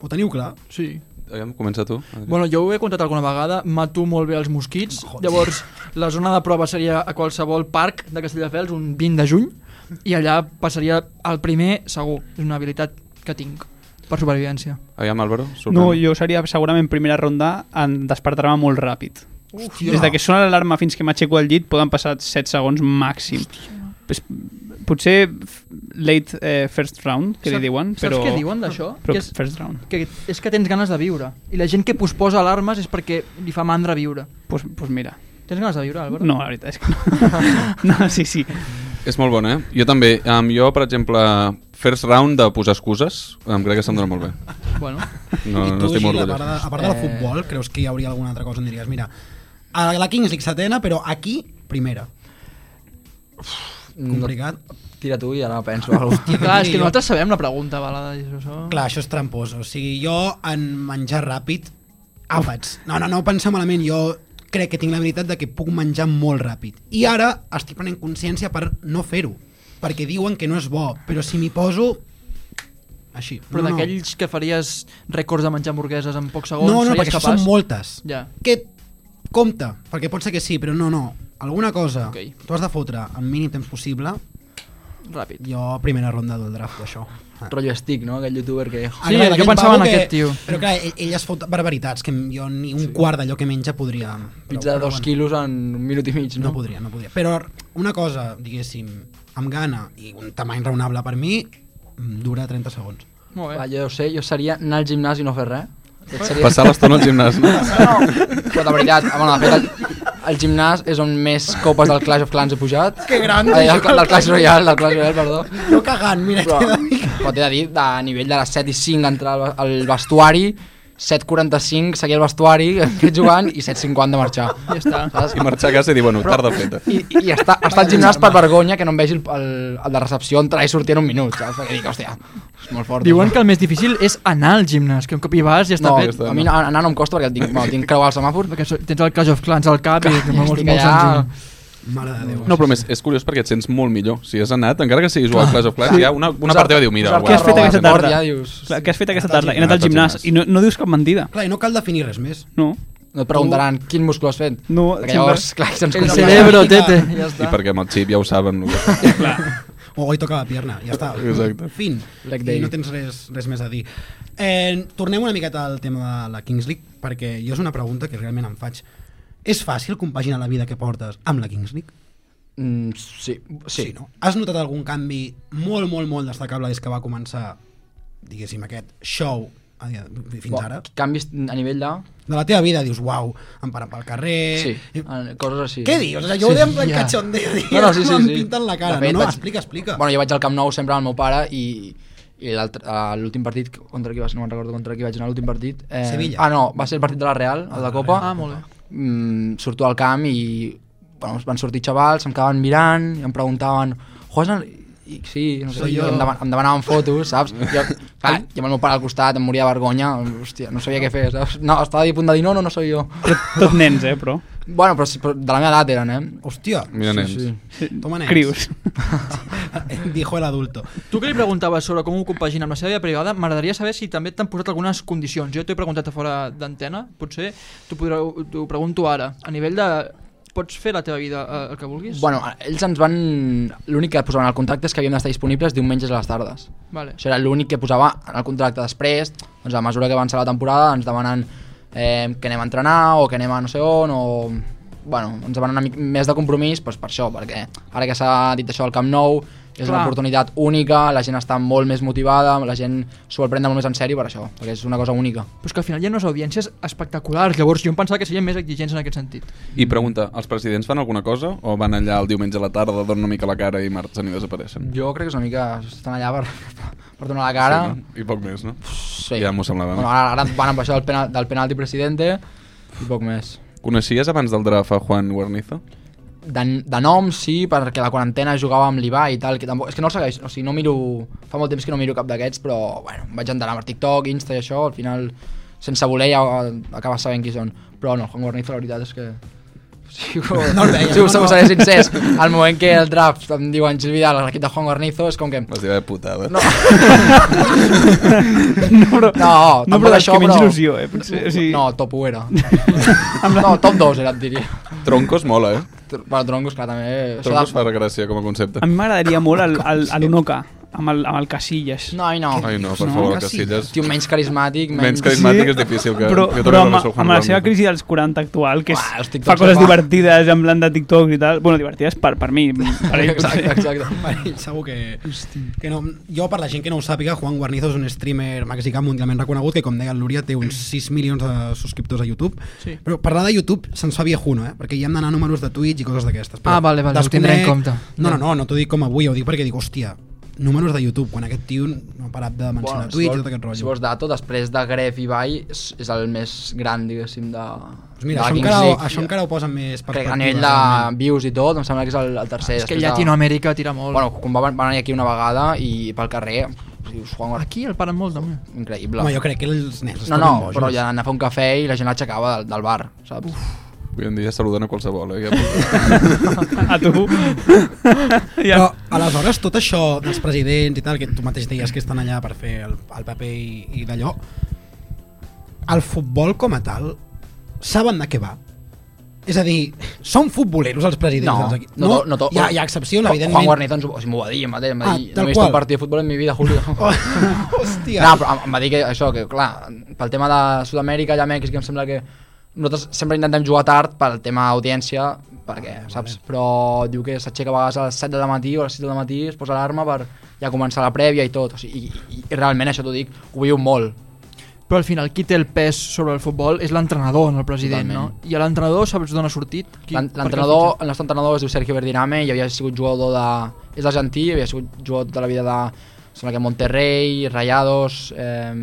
Speaker 5: Ho teniu clar?
Speaker 6: Sí.
Speaker 8: Aviam, comença tu.
Speaker 6: Bueno, jo ho he contat alguna vegada, mato molt bé els mosquits, llavors la zona de prova seria a qualsevol parc de Castelldefels un 20 de juny i allà passaria el primer segur, és una habilitat que tinc per supervivència.
Speaker 8: Aviam, Álvaro, sorprèn.
Speaker 9: No, jo seria segurament primera ronda en despertar-me molt ràpid. Hòstia. Des de que sona l'alarma fins que m'aixeco al llit poden passar 7 segons màxim. Pues, potser f- late eh, first round, que li
Speaker 6: Saps-
Speaker 9: diuen,
Speaker 6: saps
Speaker 9: però...
Speaker 6: què diuen d'això?
Speaker 9: Però
Speaker 6: Que és-
Speaker 9: first round.
Speaker 6: Que és que tens ganes de viure i la gent que posposa alarmes és perquè li fa mandra viure.
Speaker 9: Pues, pues mira.
Speaker 6: Tens ganes de viure, Álvaro?
Speaker 9: No, la veritat és que no. no, sí, sí.
Speaker 8: És molt bon, eh? Jo també. Um, jo, per exemple, first round de posar excuses, um, crec que se'm dona molt bé.
Speaker 6: Bueno,
Speaker 8: No,
Speaker 5: I tu,
Speaker 8: no estic molt
Speaker 5: Gil, a part, de,
Speaker 8: orgullós.
Speaker 5: a part
Speaker 9: Eh.
Speaker 5: del futbol, creus que hi hauria alguna altra cosa on diries, mira, a la Kings League setena, però aquí, primera. Complicat. No.
Speaker 7: Mm, Tira tu i ara penso alguna cosa.
Speaker 6: clar, és que nosaltres sabem la pregunta, Balada. Això...
Speaker 5: Clar, això és trampós. O sigui, jo en menjar ràpid, àpats. No, no, no ho pensa malament. Jo crec que tinc l'habilitat de que puc menjar molt ràpid. I ara estic prenent consciència per no fer-ho. Perquè diuen que no és bo, però si m'hi poso... Així.
Speaker 6: Però
Speaker 5: no, no.
Speaker 6: d'aquells que faries rècords de menjar hamburgueses en pocs segons,
Speaker 5: No, no,
Speaker 6: series
Speaker 5: perquè
Speaker 6: capaç?
Speaker 5: són moltes.
Speaker 6: Ja.
Speaker 5: Que compta, perquè pot ser que sí, però no, no. Alguna cosa
Speaker 6: Ok.
Speaker 5: tu has de fotre en mínim temps possible.
Speaker 6: Ràpid.
Speaker 5: Jo, primera ronda del draft, això.
Speaker 7: Rotllo estic, no? Aquell youtuber que...
Speaker 6: Sí,
Speaker 5: Agrada
Speaker 6: jo
Speaker 5: aquell
Speaker 6: pensava en
Speaker 5: pavo Ah, que-
Speaker 6: aquest tio.
Speaker 5: Però clar, ell, ell es fot barbaritats, que jo ni un sí. quart d'allò que menja podria... Però,
Speaker 7: Pizza de
Speaker 5: però
Speaker 7: dos quilos en un minut i mig,
Speaker 5: No
Speaker 7: no?
Speaker 5: podria, no podria. Però una cosa, diguéssim, amb gana i un tamany raonable per mi, mm, dura 30 segons.
Speaker 6: Molt
Speaker 7: Va,
Speaker 6: bé.
Speaker 7: jo ho sé, jo seria anar al gimnàs i no fer res. Aquest seria...
Speaker 8: Passar l'estona al gimnàs, no?
Speaker 7: Però de veritat, bueno, de fet, el, el gimnàs és on més copes del Clash of Clans he pujat. Que gran! Del, del Clash Royale, del Clash Royale, perdó.
Speaker 5: No cagant, mira,
Speaker 7: Però,
Speaker 5: t'he de dir.
Speaker 7: però t'he de dir, de nivell de les 7 i 5 entrar al, al vestuari, 7.45 seguir al vestuari, seguir jugant, i 7.50 de marxar.
Speaker 6: Ja està.
Speaker 7: Saps?
Speaker 8: I marxar a casa i dir, bueno, tarda feta.
Speaker 7: I, i està, està al gimnàs per vergonya que no em vegi el, el, el de recepció entrar i sortir en un minut, saps? Perquè dic, hòstia, és molt fort.
Speaker 6: Diuen que el més difícil és anar al gimnàs, que un cop hi vas ja està
Speaker 7: no,
Speaker 6: fet.
Speaker 7: a mi anar anar no em costa perquè tinc, bueno, tinc que creuar el semàfor.
Speaker 6: Perquè so- tens el Clash of Clans al cap i és
Speaker 7: Ja
Speaker 6: molt,
Speaker 7: estic
Speaker 6: molt
Speaker 7: allà-
Speaker 6: senzill.
Speaker 5: Mare de Déu.
Speaker 8: No, però a més, és curiós perquè et sents molt millor. Si has anat, encara que siguis
Speaker 9: Ah,
Speaker 8: al Clash of Clans, hi ha una, una part teva que diu, mira,
Speaker 7: Posar-te
Speaker 9: Què has fet
Speaker 7: roba,
Speaker 9: aquesta
Speaker 7: mort,
Speaker 9: tarda?
Speaker 7: Ja, dius,
Speaker 9: Clar, què has fet aquesta tarda? He anat
Speaker 8: He
Speaker 9: al gimnàs. I no, no dius cap mentida.
Speaker 5: Clar, i no cal definir res més.
Speaker 9: No.
Speaker 7: No et preguntaran quin múscul has fet.
Speaker 9: No,
Speaker 7: perquè llavors,
Speaker 9: sempre-
Speaker 7: clar, se'ns
Speaker 6: El
Speaker 7: complica.
Speaker 6: cerebro, tete. Ja
Speaker 8: I
Speaker 6: està.
Speaker 8: perquè amb el xip ja ho saben. el que-
Speaker 5: O hoy toca la pierna, ja està.
Speaker 8: Exacte.
Speaker 5: Fin.
Speaker 7: Leg
Speaker 5: I
Speaker 7: day.
Speaker 5: no tens res, res més a dir. Eh, tornem una miqueta al tema de la Kings League, perquè jo és una pregunta que realment em faig. És fàcil compaginar la vida que portes amb la Kings League?
Speaker 7: Mm, sí, sí.
Speaker 5: Sí, no? Has notat algun canvi molt, molt, molt destacable des que va començar, diguéssim, aquest show a dia- fins
Speaker 7: Bo,
Speaker 5: ara?
Speaker 7: Canvis a nivell de...
Speaker 5: De la teva vida dius, uau, em paren pel carrer...
Speaker 7: Sí, eh, coses així.
Speaker 5: Què dius? O sigui, jo ho
Speaker 7: Sí,
Speaker 5: deia en plan
Speaker 7: ja.
Speaker 5: cachondeo,
Speaker 7: No, no, sí, sí,
Speaker 5: em
Speaker 7: sí.
Speaker 5: pinten la cara.
Speaker 7: De fet,
Speaker 5: no, no,
Speaker 7: vaig-
Speaker 5: explica, explica.
Speaker 7: Bueno, jo vaig al Camp Nou sempre amb el meu pare i i l'altre- eh, l'últim partit contra qui vas, no me'n recordo contra qui vaig anar l'últim partit eh,
Speaker 5: Sevilla.
Speaker 7: ah no, va ser el partit de la Real, el de Copa
Speaker 6: Ah, molt bé.
Speaker 7: mm, surto al camp i bueno, van sortir xavals, em quedaven mirant i em preguntaven, juegues al... I, sí, no sé,
Speaker 5: Soy
Speaker 7: i
Speaker 5: yo.
Speaker 7: em, deman em demanaven fotos, saps? Jo, clar, jo amb el meu pare al costat, em moria de vergonya, hòstia, no sabia què fer, saps? No, estava a punt de dir, no, no, no soy yo.
Speaker 9: Tot nens, eh, però.
Speaker 7: Bueno, però, sí, però de la meva edat eren, eh?
Speaker 5: Hòstia,
Speaker 8: Mira, nens.
Speaker 7: Sí,
Speaker 5: toma nens.
Speaker 9: Crius.
Speaker 5: Dijo el adulto.
Speaker 6: Tu que li preguntaves sobre com ho compagina amb la seva vida privada, m'agradaria saber si també t'han posat algunes condicions. Jo t'ho he preguntat a fora d'antena, potser t'ho podreu- t'ho pregunto ara. A nivell de... Pots fer la teva vida eh, el que vulguis?
Speaker 7: Bueno, ells ens van... L'únic que posaven al contracte és que havíem d'estar disponibles diumenges a les tardes.
Speaker 6: Vale.
Speaker 7: Això era l'únic que posava en el contracte. Després, doncs, a mesura que avançava la temporada, ens demanen eh, que anem a entrenar o que anem a no sé on o... Bueno, ens demanen una mica més de compromís doncs, per això, perquè ara que s'ha dit això al Camp Nou, És
Speaker 9: Clar.
Speaker 7: una oportunitat única, la gent està molt més motivada, la gent s'ho el pren molt més en sèrio per això, perquè és una cosa única.
Speaker 6: Però és que al final hi ha unes audiències espectaculars, llavors jo em pensava que serien més exigents en aquest sentit.
Speaker 8: I pregunta, els presidents fan alguna cosa o van allà el diumenge a la tarda, donen una mica la cara i marxen i desapareixen?
Speaker 7: Jo crec que és una mica... estan allà per, per donar la cara.
Speaker 8: Sí, no? I poc més, no?
Speaker 7: Sí.
Speaker 8: Ja m'ho semblava.
Speaker 7: Bueno, ara, ara van amb això del, penal, del penalti presidente i poc més.
Speaker 8: Coneixies abans del draft a Juan Guarnizo?
Speaker 7: De, de nom sí, perquè la quarantena jugava amb l'Iva i tal, que tampoc, és que no el segueix, o sigui, no miro, fa molt temps que no miro cap d'aquests, però bueno, em vaig enterar per TikTok, Insta i això, al final, sense voler ja eh, acabes sabent qui són, però no, Juan Guarnizo la veritat és que... Sí, ho, no el veia, si us no, seré sincers, al moment que el draft em diuen Gil Vidal, l'equip de Juan Guarnizo, és com que...
Speaker 8: Vas dir, "Eh, putada. No.
Speaker 9: No, però,
Speaker 7: No,
Speaker 9: no,
Speaker 7: tampoc
Speaker 9: però
Speaker 7: això,
Speaker 9: això, que menys
Speaker 7: però-
Speaker 9: il·lusió, eh? Potser, o sigui,
Speaker 7: No, top 1 era. no, top 2 era, et diria.
Speaker 8: Troncos mola, eh?
Speaker 7: Tr- Bueno, troncos, clar, també... Això
Speaker 8: Troncos
Speaker 7: de...
Speaker 8: fa gràcia com a concepte.
Speaker 9: A mi m'agradaria molt el, el, el Unoca, amb el, amb el Casillas.
Speaker 7: No, i no.
Speaker 8: Ai, no, per
Speaker 9: No,
Speaker 8: favor,
Speaker 9: que sí.
Speaker 8: Casillas.
Speaker 7: Tio, menys carismàtic,
Speaker 8: Menys
Speaker 7: menys...
Speaker 8: carismàtic és difícil que,
Speaker 9: però,
Speaker 8: que
Speaker 9: però
Speaker 8: torni
Speaker 9: amb,
Speaker 8: a ser Juan
Speaker 9: amb la seva
Speaker 8: Guarnizo.
Speaker 9: crisi dels 40 actual, que és,
Speaker 7: Uah, els TikToks
Speaker 9: fa coses
Speaker 7: que fa.
Speaker 9: divertides en plan de TikTok i tal. Bueno, divertides per, per mi. Per ell,
Speaker 7: Exacte,
Speaker 9: potser.
Speaker 7: exacte.
Speaker 5: Ell segur que, que no, jo per la gent que no ho sàpiga Juan Guarnizo és un streamer mexicà mundialment reconegut que com deia el Lúria té uns 6 milions de subscriptors a YouTube sí. però parlar de YouTube se'ns fa viejuno eh? perquè hi hem d'anar a números de Twitch i coses d'aquestes però
Speaker 6: Ah, vale, vale, ho tindré en compte.
Speaker 5: no, no, no, no t'ho dic com avui ho dic perquè dic hòstia números de YouTube quan aquest tio no ha parat de mencionar bueno, Twitch i tot aquest rotllo
Speaker 7: Si vols dato, després de Gref i Bai, és, és el més gran, diguéssim, de...
Speaker 5: Doncs mira,
Speaker 7: de la
Speaker 5: això
Speaker 7: Kings
Speaker 5: encara, ho,
Speaker 7: League.
Speaker 5: això encara ho posen més
Speaker 7: Crec
Speaker 5: perspectiva
Speaker 7: que a nivell de
Speaker 5: realment.
Speaker 7: views i tot, em sembla que és el, el tercer.
Speaker 6: És que
Speaker 7: després de-
Speaker 6: Llatinoamèrica tira molt.
Speaker 7: Bueno, com va, va venir aquí una vegada i pel carrer, dius, Juan Guarnizo,
Speaker 6: Aquí el paren molt, també.
Speaker 7: increïble.
Speaker 5: Home, jo crec que els nens
Speaker 7: No,
Speaker 5: estaven
Speaker 7: no,
Speaker 5: bojos.
Speaker 7: però ja anar a fer un cafè i la gent l'aixecava del, del bar, saps? Uf.
Speaker 8: Avui en dia saluden a qualsevol, eh? Ja-
Speaker 9: A tu. ja.
Speaker 5: Però, aleshores, tot això dels presidents i tal, que tu mateix deies que estan allà per fer el, el paper i, i d'allò, el futbol com a tal, saben de què va? És a dir, són futboleros els presidents
Speaker 7: No,
Speaker 5: dels equips?
Speaker 7: no, no, no, to-
Speaker 5: hi, ha, hi ha excepcions,
Speaker 7: Ju-
Speaker 5: evidentment.
Speaker 7: Juan Guarnizo ens ho, o sigui, m'ho va dir, em va dir, em va
Speaker 5: Ah,
Speaker 7: dir no
Speaker 5: tal
Speaker 7: he vist
Speaker 5: qual. Oh,
Speaker 7: un partit de futbol en mi vida, Julio.
Speaker 5: Hòstia.
Speaker 7: No, però em- em va dir que això, que clar, pel tema de Sud-amèrica i Mèxic em sembla que nosaltres sempre intentem jugar tard pel tema audiència, perquè, saps? Però diu que s'aixeca a vegades a les 7 de la matí o a les 6 de la matí, es posa l'alarma per ja començar la prèvia i tot. O sigui, i, i, i realment això t'ho dic, ho viu molt.
Speaker 6: Però al final qui té el pes sobre el futbol és l'entrenador, no el president,
Speaker 7: Totalment.
Speaker 6: no? I a l'entrenador saps d'on ha sortit? Qui-
Speaker 7: L'en-
Speaker 6: per què el
Speaker 7: L'entrenador,
Speaker 6: fitxa?
Speaker 7: el nostre entrenador es diu Sergio Verdiname i havia sigut jugador de... És argentí, havia sigut jugador tota la vida de... em Sembla que Monterrey, Rayados... Eh,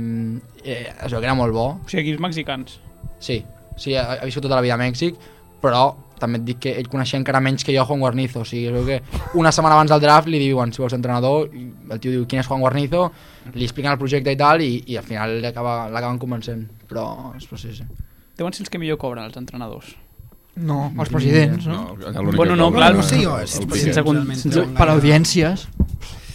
Speaker 7: eh, es veu que era molt bo.
Speaker 9: O sigui, aquí els mexicans.
Speaker 7: Sí, sí, ha, ha viscut tota la vida a Mèxic, però també et dic que ell coneixia encara menys que jo Juan Guarnizo. O sigui, es veu que una setmana abans del draft li diuen si vols ser entrenador, i el tio diu quin és Juan Guarnizo, li expliquen el projecte i tal, i, i al final li acaba- l'acaben convencent. Però, però sí, sí.
Speaker 9: Deuen ser els que millor cobren, els entrenadors.
Speaker 6: No, els presidents, no?
Speaker 8: No, allà l'únic
Speaker 9: Bueno,
Speaker 8: que
Speaker 9: no,
Speaker 8: cobra
Speaker 9: clar,
Speaker 8: és
Speaker 5: no sé jo,
Speaker 8: el
Speaker 5: és
Speaker 8: Piqué.
Speaker 9: sense con-
Speaker 5: realment,
Speaker 9: sense-
Speaker 5: realment.
Speaker 6: Per audiències.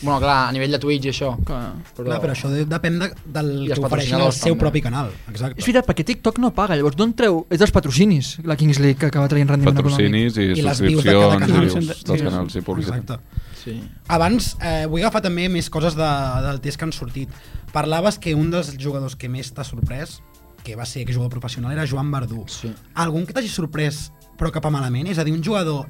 Speaker 7: Bueno, clar, a nivell de Twitch i això.
Speaker 6: Que...
Speaker 7: Però...
Speaker 5: Clar, però això de- depèn de, del
Speaker 7: I
Speaker 5: que ofereixin
Speaker 7: els
Speaker 5: al
Speaker 7: patrocinadors,
Speaker 5: seu
Speaker 7: també.
Speaker 5: propi canal. Exacte.
Speaker 6: És veritat, perquè TikTok no paga, llavors d'on treu? És dels patrocinis, la Kings League, que acaba traient rendiment econòmic.
Speaker 8: Patrocinis i,
Speaker 5: I les views de cada
Speaker 8: subscripcions i
Speaker 5: canal.
Speaker 8: views dels
Speaker 9: Sí,
Speaker 8: canals i publicitat.
Speaker 5: Exacte.
Speaker 7: Sí.
Speaker 5: Abans eh, vull agafar també més coses de, del test que han sortit. Parlaves que un dels jugadors que més t'ha sorprès, que va ser que jugador professional, era Joan Verdú.
Speaker 7: Sí.
Speaker 5: Algun que t'hagi sorprès però cap a malament? És a dir, un jugador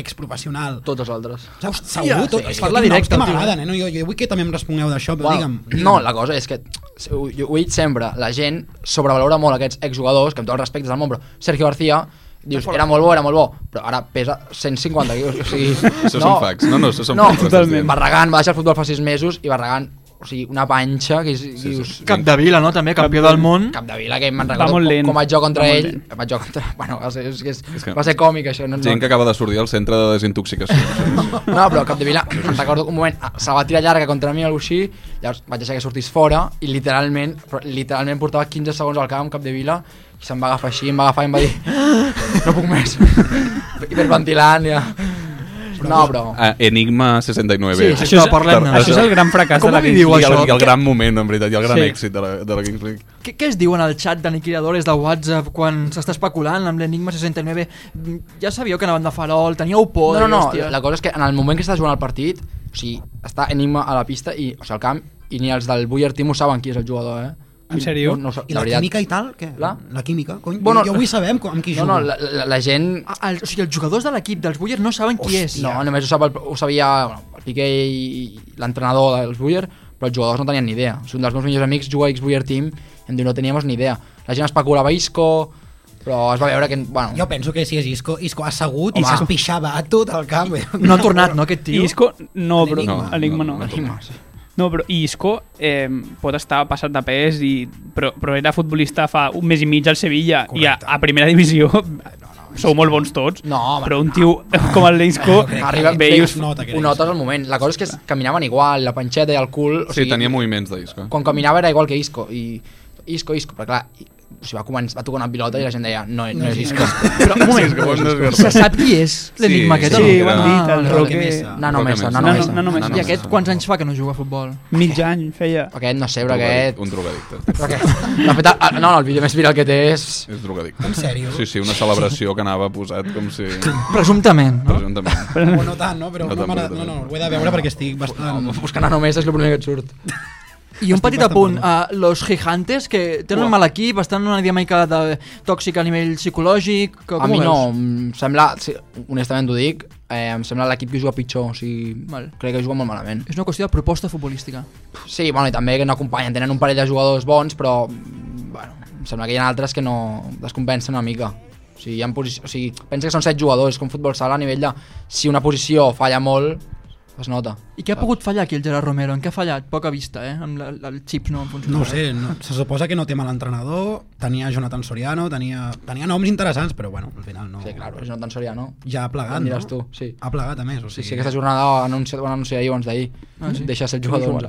Speaker 5: exprofessional...
Speaker 7: Tots els altres.
Speaker 5: Saps? Segur, tot,
Speaker 7: sí.
Speaker 5: és que
Speaker 6: Parla
Speaker 5: tinc noms
Speaker 6: directe,
Speaker 5: que
Speaker 6: el tio.
Speaker 5: m'agraden, eh? No, jo, jo vull que també em respongueu d'això, però digue'm, digue'm.
Speaker 7: No, la cosa és que ho, jo ho he dit sempre, la gent sobrevalora molt aquests exjugadors, que amb tots els respectes del món, però Sergio García, dius, era molt bo, era molt bo, però ara pesa 150 quilos, o sigui...
Speaker 8: Això són facts. No, no, això són
Speaker 7: no,
Speaker 8: facts, estàs dient.
Speaker 7: Barragán va deixar el futbol fa 6 mesos i Barragán, o sigui, una panxa que sí, dius...
Speaker 8: sí.
Speaker 7: Cap,
Speaker 6: Cap de Vila, no? També, campió del món.
Speaker 7: cap de vila que me'n
Speaker 9: Va
Speaker 7: recordo
Speaker 9: molt
Speaker 7: com,
Speaker 9: lent.
Speaker 7: com vaig jo contra
Speaker 9: Va molt
Speaker 7: ell
Speaker 9: lent.
Speaker 7: vaig jo contra... bueno, va ser, és, que és,
Speaker 8: És que-
Speaker 7: va ser còmic això no,
Speaker 8: Gent que acaba de sortir al centre de desintoxicació.
Speaker 7: No, però Capdevila, recordo que un moment ah, se va tirar llarga contra mi o alguna cosa així, llavors vaig deixar que sortís fora i literalment, però literalment portava 15 segons al camp Capdevila i se'm va agafar així, em va agafar i em va dir no puc més, hiperventilant ja. No, però...
Speaker 8: Ah, Enigma 69.
Speaker 6: Sí, sí, això és- parlem-ne.
Speaker 9: Això és el gran fracàs
Speaker 6: Com
Speaker 9: de la
Speaker 6: ho
Speaker 9: Kings
Speaker 6: viviu,
Speaker 8: I
Speaker 9: League.
Speaker 8: el,
Speaker 6: això?
Speaker 8: i el gran moment, en veritat, i el gran
Speaker 9: Sí.
Speaker 8: sí. èxit de la, de la Kings League.
Speaker 6: Què, què es diuen al xat d'aniquiladores de WhatsApp quan s'està especulant amb l'Enigma 69? Mm, Ja sabíeu que anaven de farol, teníeu por.
Speaker 7: No, no, no,
Speaker 6: hòstia.
Speaker 7: la cosa és que en el moment que està jugant el partit, o sigui, està Enigma a la pista i, o sigui, al camp, i ni els del Buller Team ho saben qui és el jugador, eh?
Speaker 9: En sèrio?
Speaker 7: No, no, ho sap,
Speaker 5: I
Speaker 7: la
Speaker 5: la,
Speaker 7: veritat.
Speaker 5: química i tal? Què?
Speaker 7: La?
Speaker 5: la química? Cony, bueno,
Speaker 7: Bueno,
Speaker 5: jo avui sabem com, amb qui
Speaker 7: No,
Speaker 5: jugo.
Speaker 7: no, la, la, la gent...
Speaker 6: Ah, El, o sigui, els jugadors de l'equip dels Bullers no saben qui és.
Speaker 7: No, només ho, sap el, ho sabia bueno, el Piqué i i l'entrenador dels Buller, però els jugadors no tenien ni idea. O sigui, Un dels meus millors amics juga a X-Buller Team i em diu no teníem ni idea. La gent especulava Isco, però es va veure que... Bueno,
Speaker 5: Jo penso que si és Isco, Isco ha assegut i
Speaker 7: Home.
Speaker 5: s'espixava a tot el camp. eh?
Speaker 6: No ha tornat, no, aquest tio?
Speaker 9: I Isco, no, però...
Speaker 8: Enigma.
Speaker 9: No, Enigma no.
Speaker 8: No, no.
Speaker 7: Enigma, sí.
Speaker 9: No, però i Isco eh, pot estar passat de pes, i, però, però era futbolista fa un mes i mig al Sevilla
Speaker 5: Correcte.
Speaker 9: i a, a primera divisió sou molt bons tots,
Speaker 7: No, home,
Speaker 9: però un tio com el d'Isco
Speaker 5: crec.
Speaker 7: Arriba,
Speaker 9: ve i us...
Speaker 5: No. nota que
Speaker 7: ho
Speaker 5: era
Speaker 7: notes al moment. La cosa és que es- caminaven igual, la panxeta i el cul... O
Speaker 8: Sí, tenia moviments de eh? disco.
Speaker 7: Quan caminava era igual que Isco, i Isco, Isco, però clar, i, o sigui, va, començar, va tocar una pilota i la gent deia no, no, és Isco. Però, un moment,
Speaker 8: que ho hem
Speaker 6: Se
Speaker 8: desgarrat.
Speaker 6: sap qui és l'enigma
Speaker 8: Sí,
Speaker 6: aquest?
Speaker 8: sí,
Speaker 6: home?
Speaker 8: ho han
Speaker 9: dit, el
Speaker 6: vale,
Speaker 9: Roque.
Speaker 6: vale.
Speaker 7: Nano Mesa,
Speaker 9: Nano-
Speaker 7: Nano Mesa.
Speaker 9: Nano Mesa.
Speaker 6: I aquest quants anys fa que no juga a futbol?
Speaker 9: Mig any feia...
Speaker 7: Aquest no sé, però
Speaker 8: Drogadicte,
Speaker 7: aquest...
Speaker 8: Un drogadicte.
Speaker 7: Però aquest... De fet, el- no, no, el vídeo més viral que té és...
Speaker 8: És drogadicte.
Speaker 5: En sèrio?
Speaker 8: Sí, sí, una celebració que anava posat com si...
Speaker 6: Presumptament, no?
Speaker 8: Presumptament.
Speaker 5: O no tant, no? Però
Speaker 8: No
Speaker 5: no,
Speaker 8: tant,
Speaker 5: m'agrada-
Speaker 8: però
Speaker 5: no, no, ho
Speaker 8: també.
Speaker 5: he de veure perquè estic bastant...
Speaker 7: Buscant a només és el primer que et surt.
Speaker 6: I un petit
Speaker 5: bastant
Speaker 6: apunt
Speaker 5: perdut.
Speaker 6: a Los Gigantes, que tenen un mal equip, estan en una dinàmica de tòxica a nivell psicològic... que- Com
Speaker 7: A mi
Speaker 6: ho
Speaker 7: no,
Speaker 6: veus?
Speaker 7: em sembla, sí, honestament t'ho dic, eh, em sembla l'equip que juga pitjor, o sigui,
Speaker 6: Val.
Speaker 7: crec que juga molt malament.
Speaker 6: És una qüestió de proposta futbolística.
Speaker 7: Sí, bueno, i també que no acompanyen, tenen un parell de jugadors bons, però, mm, bueno, em sembla que hi ha altres que no descompensen una mica. O sigui, hi ha posició, o sigui, pensa que són set jugadors, com futbol sala, a nivell de, si una posició falla molt, es nota.
Speaker 6: I què ha pogut fallar aquí el Gerard Romero? En què ha fallat? Poca vista, eh? Amb la, la, el xip no funciona.
Speaker 5: No ho sé, no, se suposa que no té mal entrenador, tenia Jonathan Soriano, tenia, tenia noms interessants, però bueno, al final no.
Speaker 7: Sí, clar, és una tensoria, no?
Speaker 5: Ja ha plegat,
Speaker 7: Em
Speaker 5: no?
Speaker 7: diràs tu, sí.
Speaker 5: Ha plegat, a més. O
Speaker 7: Sí,
Speaker 5: sigui,
Speaker 7: sí, aquesta jornada anunciat, van anunciar ahir o abans d'ahir. Ah, sí? Deixa set jugadors.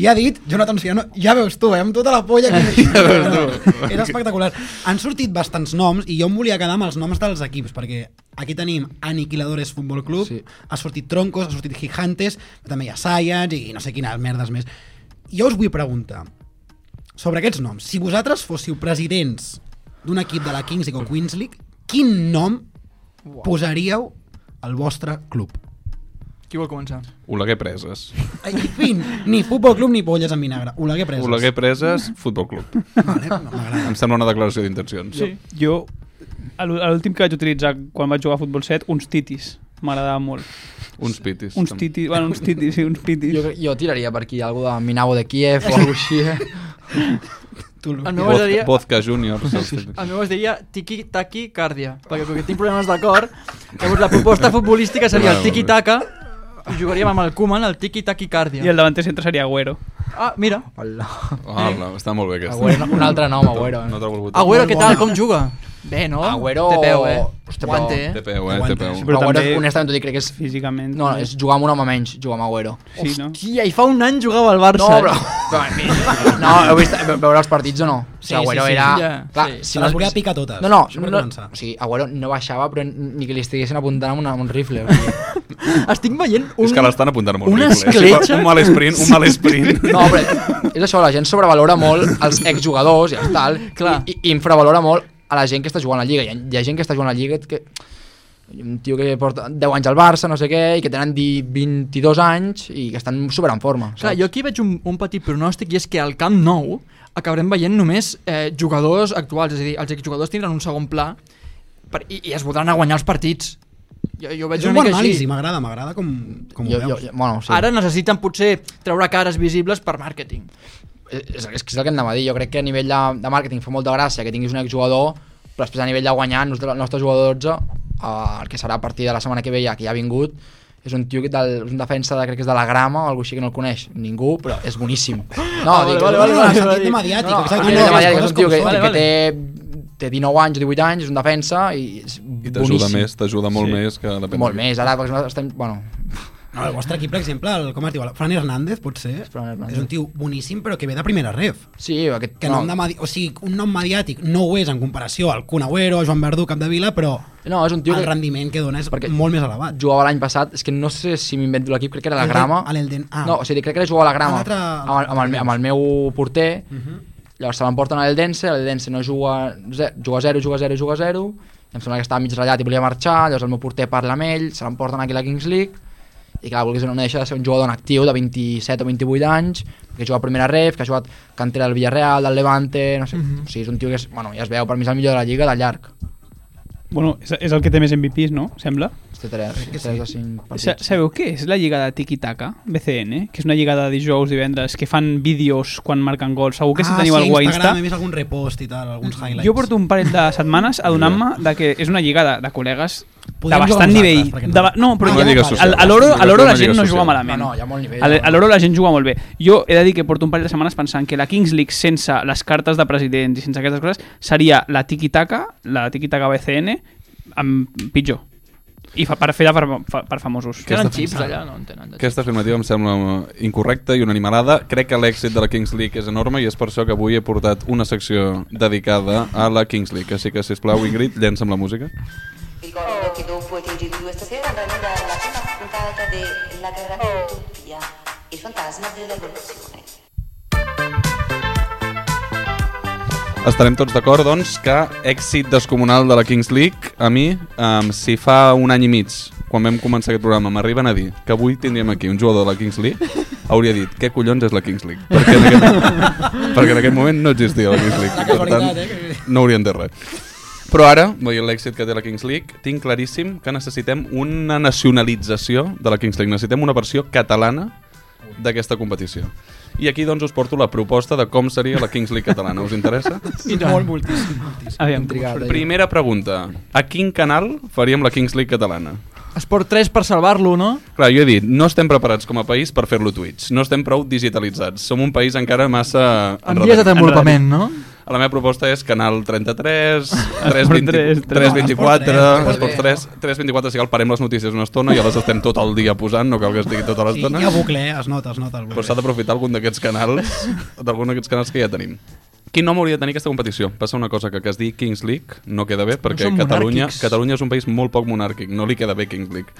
Speaker 5: I ha dit, Jonathan Soriano, ja veus tu, eh, amb tota la polla que ja veus tu. Era espectacular. Han sortit bastants noms i jo em volia quedar amb els noms dels equips, perquè aquí tenim Aniquiladores Futbol Club,
Speaker 7: Sí.
Speaker 5: sí. ha sortit Troncos, ha sortit Gigantes, però també hi ha Science i no sé quines merdes més. Jo us vull preguntar, sobre aquests noms, si vosaltres fóssiu presidents d'un equip de la Kings League o Queens League, quin nom posaríeu al vostre club?
Speaker 6: Qui vol començar?
Speaker 8: Oleguer Preses.
Speaker 5: Ai, fin, ni futbol club ni polles en vinagre. Oleguer Preses.
Speaker 8: Oleguer Preses, Futbol Club.
Speaker 5: Vale, m'agrada.
Speaker 8: Em sembla una declaració d'intencions.
Speaker 9: Sí. Jo, a l'ú- a l'últim que vaig utilitzar quan vaig jugar a futbol set, uns titis. M'agradava molt.
Speaker 8: Uns pitis.
Speaker 9: Uns titis, bueno, uns titis, sí, uns pitis.
Speaker 7: Jo, jo tiraria per aquí algo de Minavo de Kiev o alguna així. eh?
Speaker 5: Tu, Lu.
Speaker 6: El meu, es
Speaker 8: Vodka,
Speaker 6: diria,
Speaker 8: vodka Junior. Ah,
Speaker 6: el meu es diria tiki taki càrdia, perquè com que tinc problemes de cor, llavors la proposta futbolística seria el
Speaker 8: Vale,
Speaker 6: tiki taka, i jugaríem amb el Koeman, el tiki taki
Speaker 9: I
Speaker 6: càrdia.
Speaker 9: el davanter centre seria Agüero.
Speaker 6: Ah, mira,
Speaker 7: Hola.
Speaker 8: Hola, Ah, està molt bé aquesta.
Speaker 7: Agüero, un altre nom, Agüero.
Speaker 8: No
Speaker 7: Eh?
Speaker 8: t'ha volgut.
Speaker 6: Agüero, què tal?
Speaker 5: bona.
Speaker 6: Com juga? Bé, no?
Speaker 7: Agüero-
Speaker 6: Té peu, eh?
Speaker 7: Hosti, però-
Speaker 6: Guante, eh?
Speaker 8: Té peu, eh? Té peu.
Speaker 9: Però
Speaker 7: Agüero,
Speaker 9: també-
Speaker 7: honestament, t'ho dic, crec que és...
Speaker 9: Físicament.
Speaker 7: No, és jugar amb un home menys, jugar amb Agüero.
Speaker 9: Sí, no?
Speaker 6: Hòstia, i fa un any jugava al Barça.
Speaker 7: No, però... No, heu vist ve- veure els partits o no?
Speaker 5: Sí,
Speaker 7: Agüero
Speaker 5: sí, sí.
Speaker 7: era...
Speaker 6: Ja,
Speaker 7: clar,
Speaker 6: sí.
Speaker 5: Se les volia picar totes.
Speaker 7: No, no,
Speaker 5: Això per
Speaker 7: no,
Speaker 5: començar.
Speaker 7: o sigui, Agüero no baixava, però ni que li estiguessin apuntant amb, una, amb un rifle. O sigui.
Speaker 6: Estic veient un...
Speaker 8: És que l'estan apuntant molt
Speaker 6: Una
Speaker 8: bé.
Speaker 6: escletxa?
Speaker 8: Un mal sprint, un mal sprint.
Speaker 7: No, però és això, la gent sobrevalora molt els exjugadors i els tal,
Speaker 6: Clar.
Speaker 7: i, i infravalora molt a la gent que està jugant a la Lliga. Hi ha, hi ha gent que està jugant a la Lliga que un tio que porta 10 anys al Barça, no sé què, i que tenen di- 22 anys i que estan super en forma.
Speaker 6: Clar, jo aquí veig un, un petit pronòstic i és que al Camp Nou acabarem veient només eh, jugadors actuals, és a dir, els exjugadors tindran un segon pla per, i, i es voldran a guanyar els partits. Jo, jo ho veig
Speaker 5: És un
Speaker 6: una
Speaker 5: bon
Speaker 6: mica
Speaker 5: anàlisi,
Speaker 6: així.
Speaker 5: m'agrada, m'agrada com, com ho
Speaker 7: jo, jo,
Speaker 5: veus.
Speaker 7: jo, bueno, sí.
Speaker 6: Ara necessiten potser treure cares visibles per màrqueting.
Speaker 7: Eh, és, és que és el que anava a dir, jo crec que a nivell de, de màrqueting fa molta gràcia que tinguis un exjugador, però després a nivell de guanyar, nostre- el nostre jugador 12, eh, el que serà a partir de la setmana que ve ja, que ja ha vingut, és un tio que del, és un defensa de, crec que és de la grama o alguna així que no el coneix ningú, però és boníssim. No,
Speaker 6: Ah, vale,
Speaker 7: dic,
Speaker 6: vale,
Speaker 5: No,
Speaker 6: vale,
Speaker 5: no,
Speaker 6: vale,
Speaker 5: en
Speaker 6: vale.
Speaker 5: sentit de mediàtic,
Speaker 7: no, ah,
Speaker 5: exacte,
Speaker 7: a nivell
Speaker 5: no,
Speaker 7: de
Speaker 5: les
Speaker 7: mediàtic,
Speaker 5: coses
Speaker 7: és un tio
Speaker 5: com
Speaker 7: que,
Speaker 5: són.
Speaker 6: Vale,
Speaker 7: que té, té 19 anys o 18 anys, és un defensa i és
Speaker 8: I t'ajuda
Speaker 7: boníssim.
Speaker 8: més, t'ajuda molt més que la
Speaker 7: Molt més, ara perquè nosaltres estem... Bueno,
Speaker 5: No, el vostre equip, per exemple, el, com es diu, el Fran Hernández, potser,
Speaker 7: Fran Hernández.
Speaker 5: és un tio boníssim, però que ve de primera ref.
Speaker 7: sí, aquest...
Speaker 5: Que nom de medi... O sigui, un nom mediàtic no ho és en comparació al Kun Agüero, Joan Verdú, Capdevila, però
Speaker 7: no, és un tio
Speaker 5: el
Speaker 7: que
Speaker 5: rendiment que dona és
Speaker 7: Perquè-
Speaker 5: molt més elevat.
Speaker 7: jugava l'any passat, és que no sé si m'invento l'equip, crec que era la
Speaker 5: Elden-
Speaker 7: grama.
Speaker 5: a l'Elden- ah.
Speaker 7: No, o sigui, crec que era jugar a la
Speaker 5: A
Speaker 7: grama
Speaker 5: l'altre-
Speaker 7: amb, el, amb, el, me- amb el meu porter. Uh -huh.
Speaker 5: Mhm.
Speaker 7: Llavors se l'emporten a l'Eldense, l'Eldense no juga, ze- juga 0, juga 0, juga 0. Em sembla que estava mig ratllat i volia marxar, llavors el meu porter parla amb ell, se l'emporten aquí a la Kings League i clar, vulguis o no, no deixa de ser un jugador en actiu de 27 o 28 anys, que juga a primera ref, que ha jugat cantera del Villarreal, del Levante, no sé,
Speaker 5: Mhm.
Speaker 7: o sigui, és un tio que és, bueno, ja es veu, per mi és el millor de la Lliga de llarg.
Speaker 9: Bueno, és, és el que té més MVPs, no? Sembla.
Speaker 7: Té 3, 3 de 5
Speaker 9: Sa
Speaker 7: partits.
Speaker 9: Sabeu què és la lliga de tiki-taka? BCN, que és una lliga de dijous, divendres, que fan vídeos quan marquen gols. Segur
Speaker 7: Ah,
Speaker 9: que si teniu algú a Insta...
Speaker 5: Ah, Instagram he vist algun repost i tal, alguns highlights.
Speaker 9: Jo porto un parell de setmanes adonant-me de que és una lliga de, de col·legues
Speaker 5: Podríem
Speaker 9: de
Speaker 5: jugar
Speaker 9: bastant
Speaker 5: nosaltres,
Speaker 9: nivell.
Speaker 5: perquè no.
Speaker 9: De, ba- no, però
Speaker 5: Ah,
Speaker 9: hi ha-
Speaker 5: una lliga social.
Speaker 9: al- a l'oro a l'oro
Speaker 8: Una
Speaker 9: la gent
Speaker 8: lliga
Speaker 9: no juga
Speaker 8: social.
Speaker 9: malament.
Speaker 7: No, no, hi ha molt nivell.
Speaker 9: A l- A l'hora la gent juga molt bé. Jo he de dir que porto un parell de setmanes pensant que la Kings League sense les cartes de presidents i sense aquestes coses seria la tiki-taka, la tiki-taka BCN, amb pitjor. I fa, per fer de per, fa- per famosos.
Speaker 8: Què
Speaker 6: Tenen
Speaker 8: està
Speaker 6: xips allà? No en tenen. de xips.
Speaker 8: Aquesta afirmativa em sembla eh, incorrecta i una animalada. Crec que l'èxit de la Kings League és enorme i és per això que avui he portat una secció dedicada a la Kings League. Així que, sisplau, Ingrid, llença'm la música.
Speaker 10: Ricordo che dopo i TG2 stasera andremo alla prima puntata della guerra di Utopia, il fantasma dell'evoluzione.
Speaker 8: Estarem tots d'acord, doncs, que èxit descomunal de la Kings League, a mi, um, si fa un any i mig, quan vam començar aquest programa, m'arriben a dir que avui tindríem aquí un jugador de la Kings League, hauria dit, què collons és la Kings League? Perquè en aquest, perquè en aquest moment no existia la Kings League. Per tant, no haurien de res. Però ara, veient l'èxit que té la Kings League, tinc claríssim que necessitem una nacionalització de la Kings League. Necessitem una versió catalana d'aquesta competició. I aquí, doncs, us porto la proposta de com seria la Kings League catalana. Us interessa?
Speaker 5: Molt moltíssim.
Speaker 9: Aviam,
Speaker 7: Intrigat, eh?
Speaker 8: Primera pregunta. A quin canal faríem la Kings League catalana?
Speaker 6: Esport 3 per salvar-lo, no?
Speaker 8: Clar, jo he dit, no estem preparats com a país per fer-lo Twitch. No estem prou digitalitzats. Som un país encara massa...
Speaker 6: En vies de
Speaker 8: enrere.
Speaker 6: desenvolupament, no?
Speaker 8: La meva proposta és Canal 33, 320,
Speaker 9: Ah, tres,
Speaker 8: 324,
Speaker 5: Esport
Speaker 8: Esport 3, 324, si cal parem les notícies una estona, ja les estem tot el dia posant, no cal que estigui tota
Speaker 5: Sí, hi
Speaker 8: l'estona.
Speaker 5: ha bucle, eh? es nota, es nota. El
Speaker 8: Però
Speaker 5: bucle.
Speaker 8: s'ha d'aprofitar algun d'aquests canals, d'algun d'aquests canals que ja tenim. Quin nom hauria de tenir aquesta competició? Passa una cosa, que que es digui Kings League no queda bé, perquè
Speaker 6: som
Speaker 8: Catalunya,
Speaker 6: monàrquics.
Speaker 8: Catalunya és un país molt poc monàrquic, no li queda bé Kings League.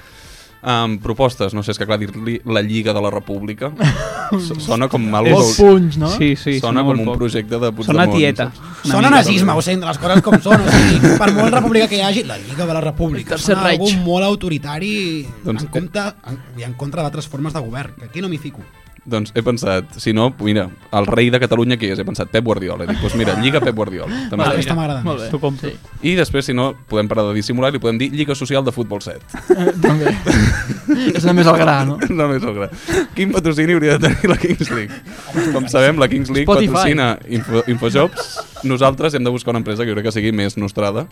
Speaker 8: Um, propostes, no sé, és que clar, dir-li la Lliga de la República so- sona com mal...
Speaker 6: Molts punts, no?
Speaker 9: Sí, sí,
Speaker 8: sona, com
Speaker 9: molt
Speaker 8: un
Speaker 9: poc.
Speaker 8: projecte de Puigdemont.
Speaker 9: Sona tieta.
Speaker 8: saps?
Speaker 5: Sona nazisme, o sigui, entre les coses com són. O sigui, per molt república que hi hagi, la Lliga de la República.
Speaker 7: Tercer
Speaker 5: Sona algú
Speaker 7: Reich.
Speaker 5: molt autoritari
Speaker 8: Doncs-
Speaker 5: en, compte, en, i en contra d'altres formes de govern, que aquí no m'hi fico.
Speaker 8: Doncs he pensat, si no, mira, el rei de Catalunya qui és? He pensat Pep Guardiola. He dit, doncs mira, Lliga Pep Guardiola. També està
Speaker 5: Aquesta
Speaker 8: bé.
Speaker 5: m'agrada més.
Speaker 9: T'ho compro.
Speaker 8: I després, si no, podem parar de dissimular i li podem dir Lliga Social de Futbol 7.
Speaker 6: També. és només el gra, no?
Speaker 8: No, no és el gra. Quin patrocini hauria de tenir la Kings League? Com sabem, la Kings League
Speaker 6: Spotify.
Speaker 8: patrocina Info, Infojobs. Nosaltres hem de buscar una empresa que jo crec que sigui més nostrada.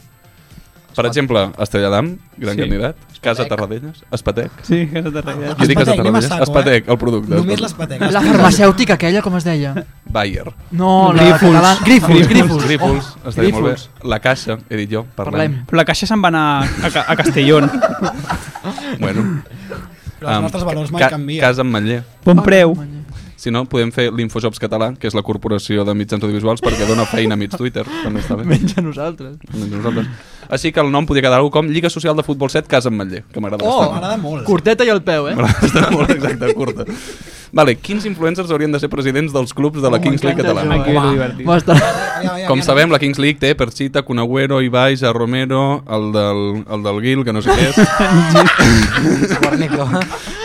Speaker 8: Per exemple, Estrella d'Am,
Speaker 9: Sí.
Speaker 8: gran sí. candidat. Casa Tarradellas, Espatec.
Speaker 9: Sí, que s'ha de
Speaker 8: Jo dic
Speaker 5: Espatec, anem
Speaker 8: Casa
Speaker 5: a
Speaker 8: Tarradellas.
Speaker 5: saco, eh?
Speaker 8: Espatec, el producte.
Speaker 5: Només les pateques.
Speaker 6: La farmacèutica aquella, com es deia?
Speaker 8: Bayer.
Speaker 6: No, la Grífols. catalana...
Speaker 5: Ah,
Speaker 6: Grífols, Grífols.
Speaker 8: Grífols, estaria molt bé.
Speaker 6: Grífols.
Speaker 8: La Caixa, he dit jo, parlem.
Speaker 6: Parlem.
Speaker 9: Però la caixa se'n va anar a, Ca- a Castellón.
Speaker 8: parlem. Bueno,
Speaker 5: Però els
Speaker 8: um,
Speaker 5: nostres valors mai
Speaker 8: ca
Speaker 5: canvien.
Speaker 8: Casa amb Manller.
Speaker 9: Bon preu.
Speaker 8: Si no, podem fer l'Infojobs català, que és la corporació de mitjans audiovisuals, perquè dona feina a mig Twitter. També està bé.
Speaker 6: Menys a nosaltres.
Speaker 8: Doncs nosaltres. Així que el nom podia quedar algo com Lliga Social de Futbol 7 Casa amb Matller, que m'agrada
Speaker 6: Oh,
Speaker 8: bastant.
Speaker 5: M'agrada molt.
Speaker 6: Curteta i el peu, eh?
Speaker 8: M'agrada bastant molt exacte, curta. Vale, quins influencers haurien de ser presidents dels clubs
Speaker 6: Oh,
Speaker 8: de la Kings League catalana?
Speaker 9: Aquí és divertit.
Speaker 6: Va estar...
Speaker 5: Aviam, aviam,
Speaker 8: Com
Speaker 5: aviam.
Speaker 8: sabem, la Kings League té Perchita, Conagüero, Ibai, Ja Romero, el del, el del Gil, que no sé què és.
Speaker 7: Guarnico.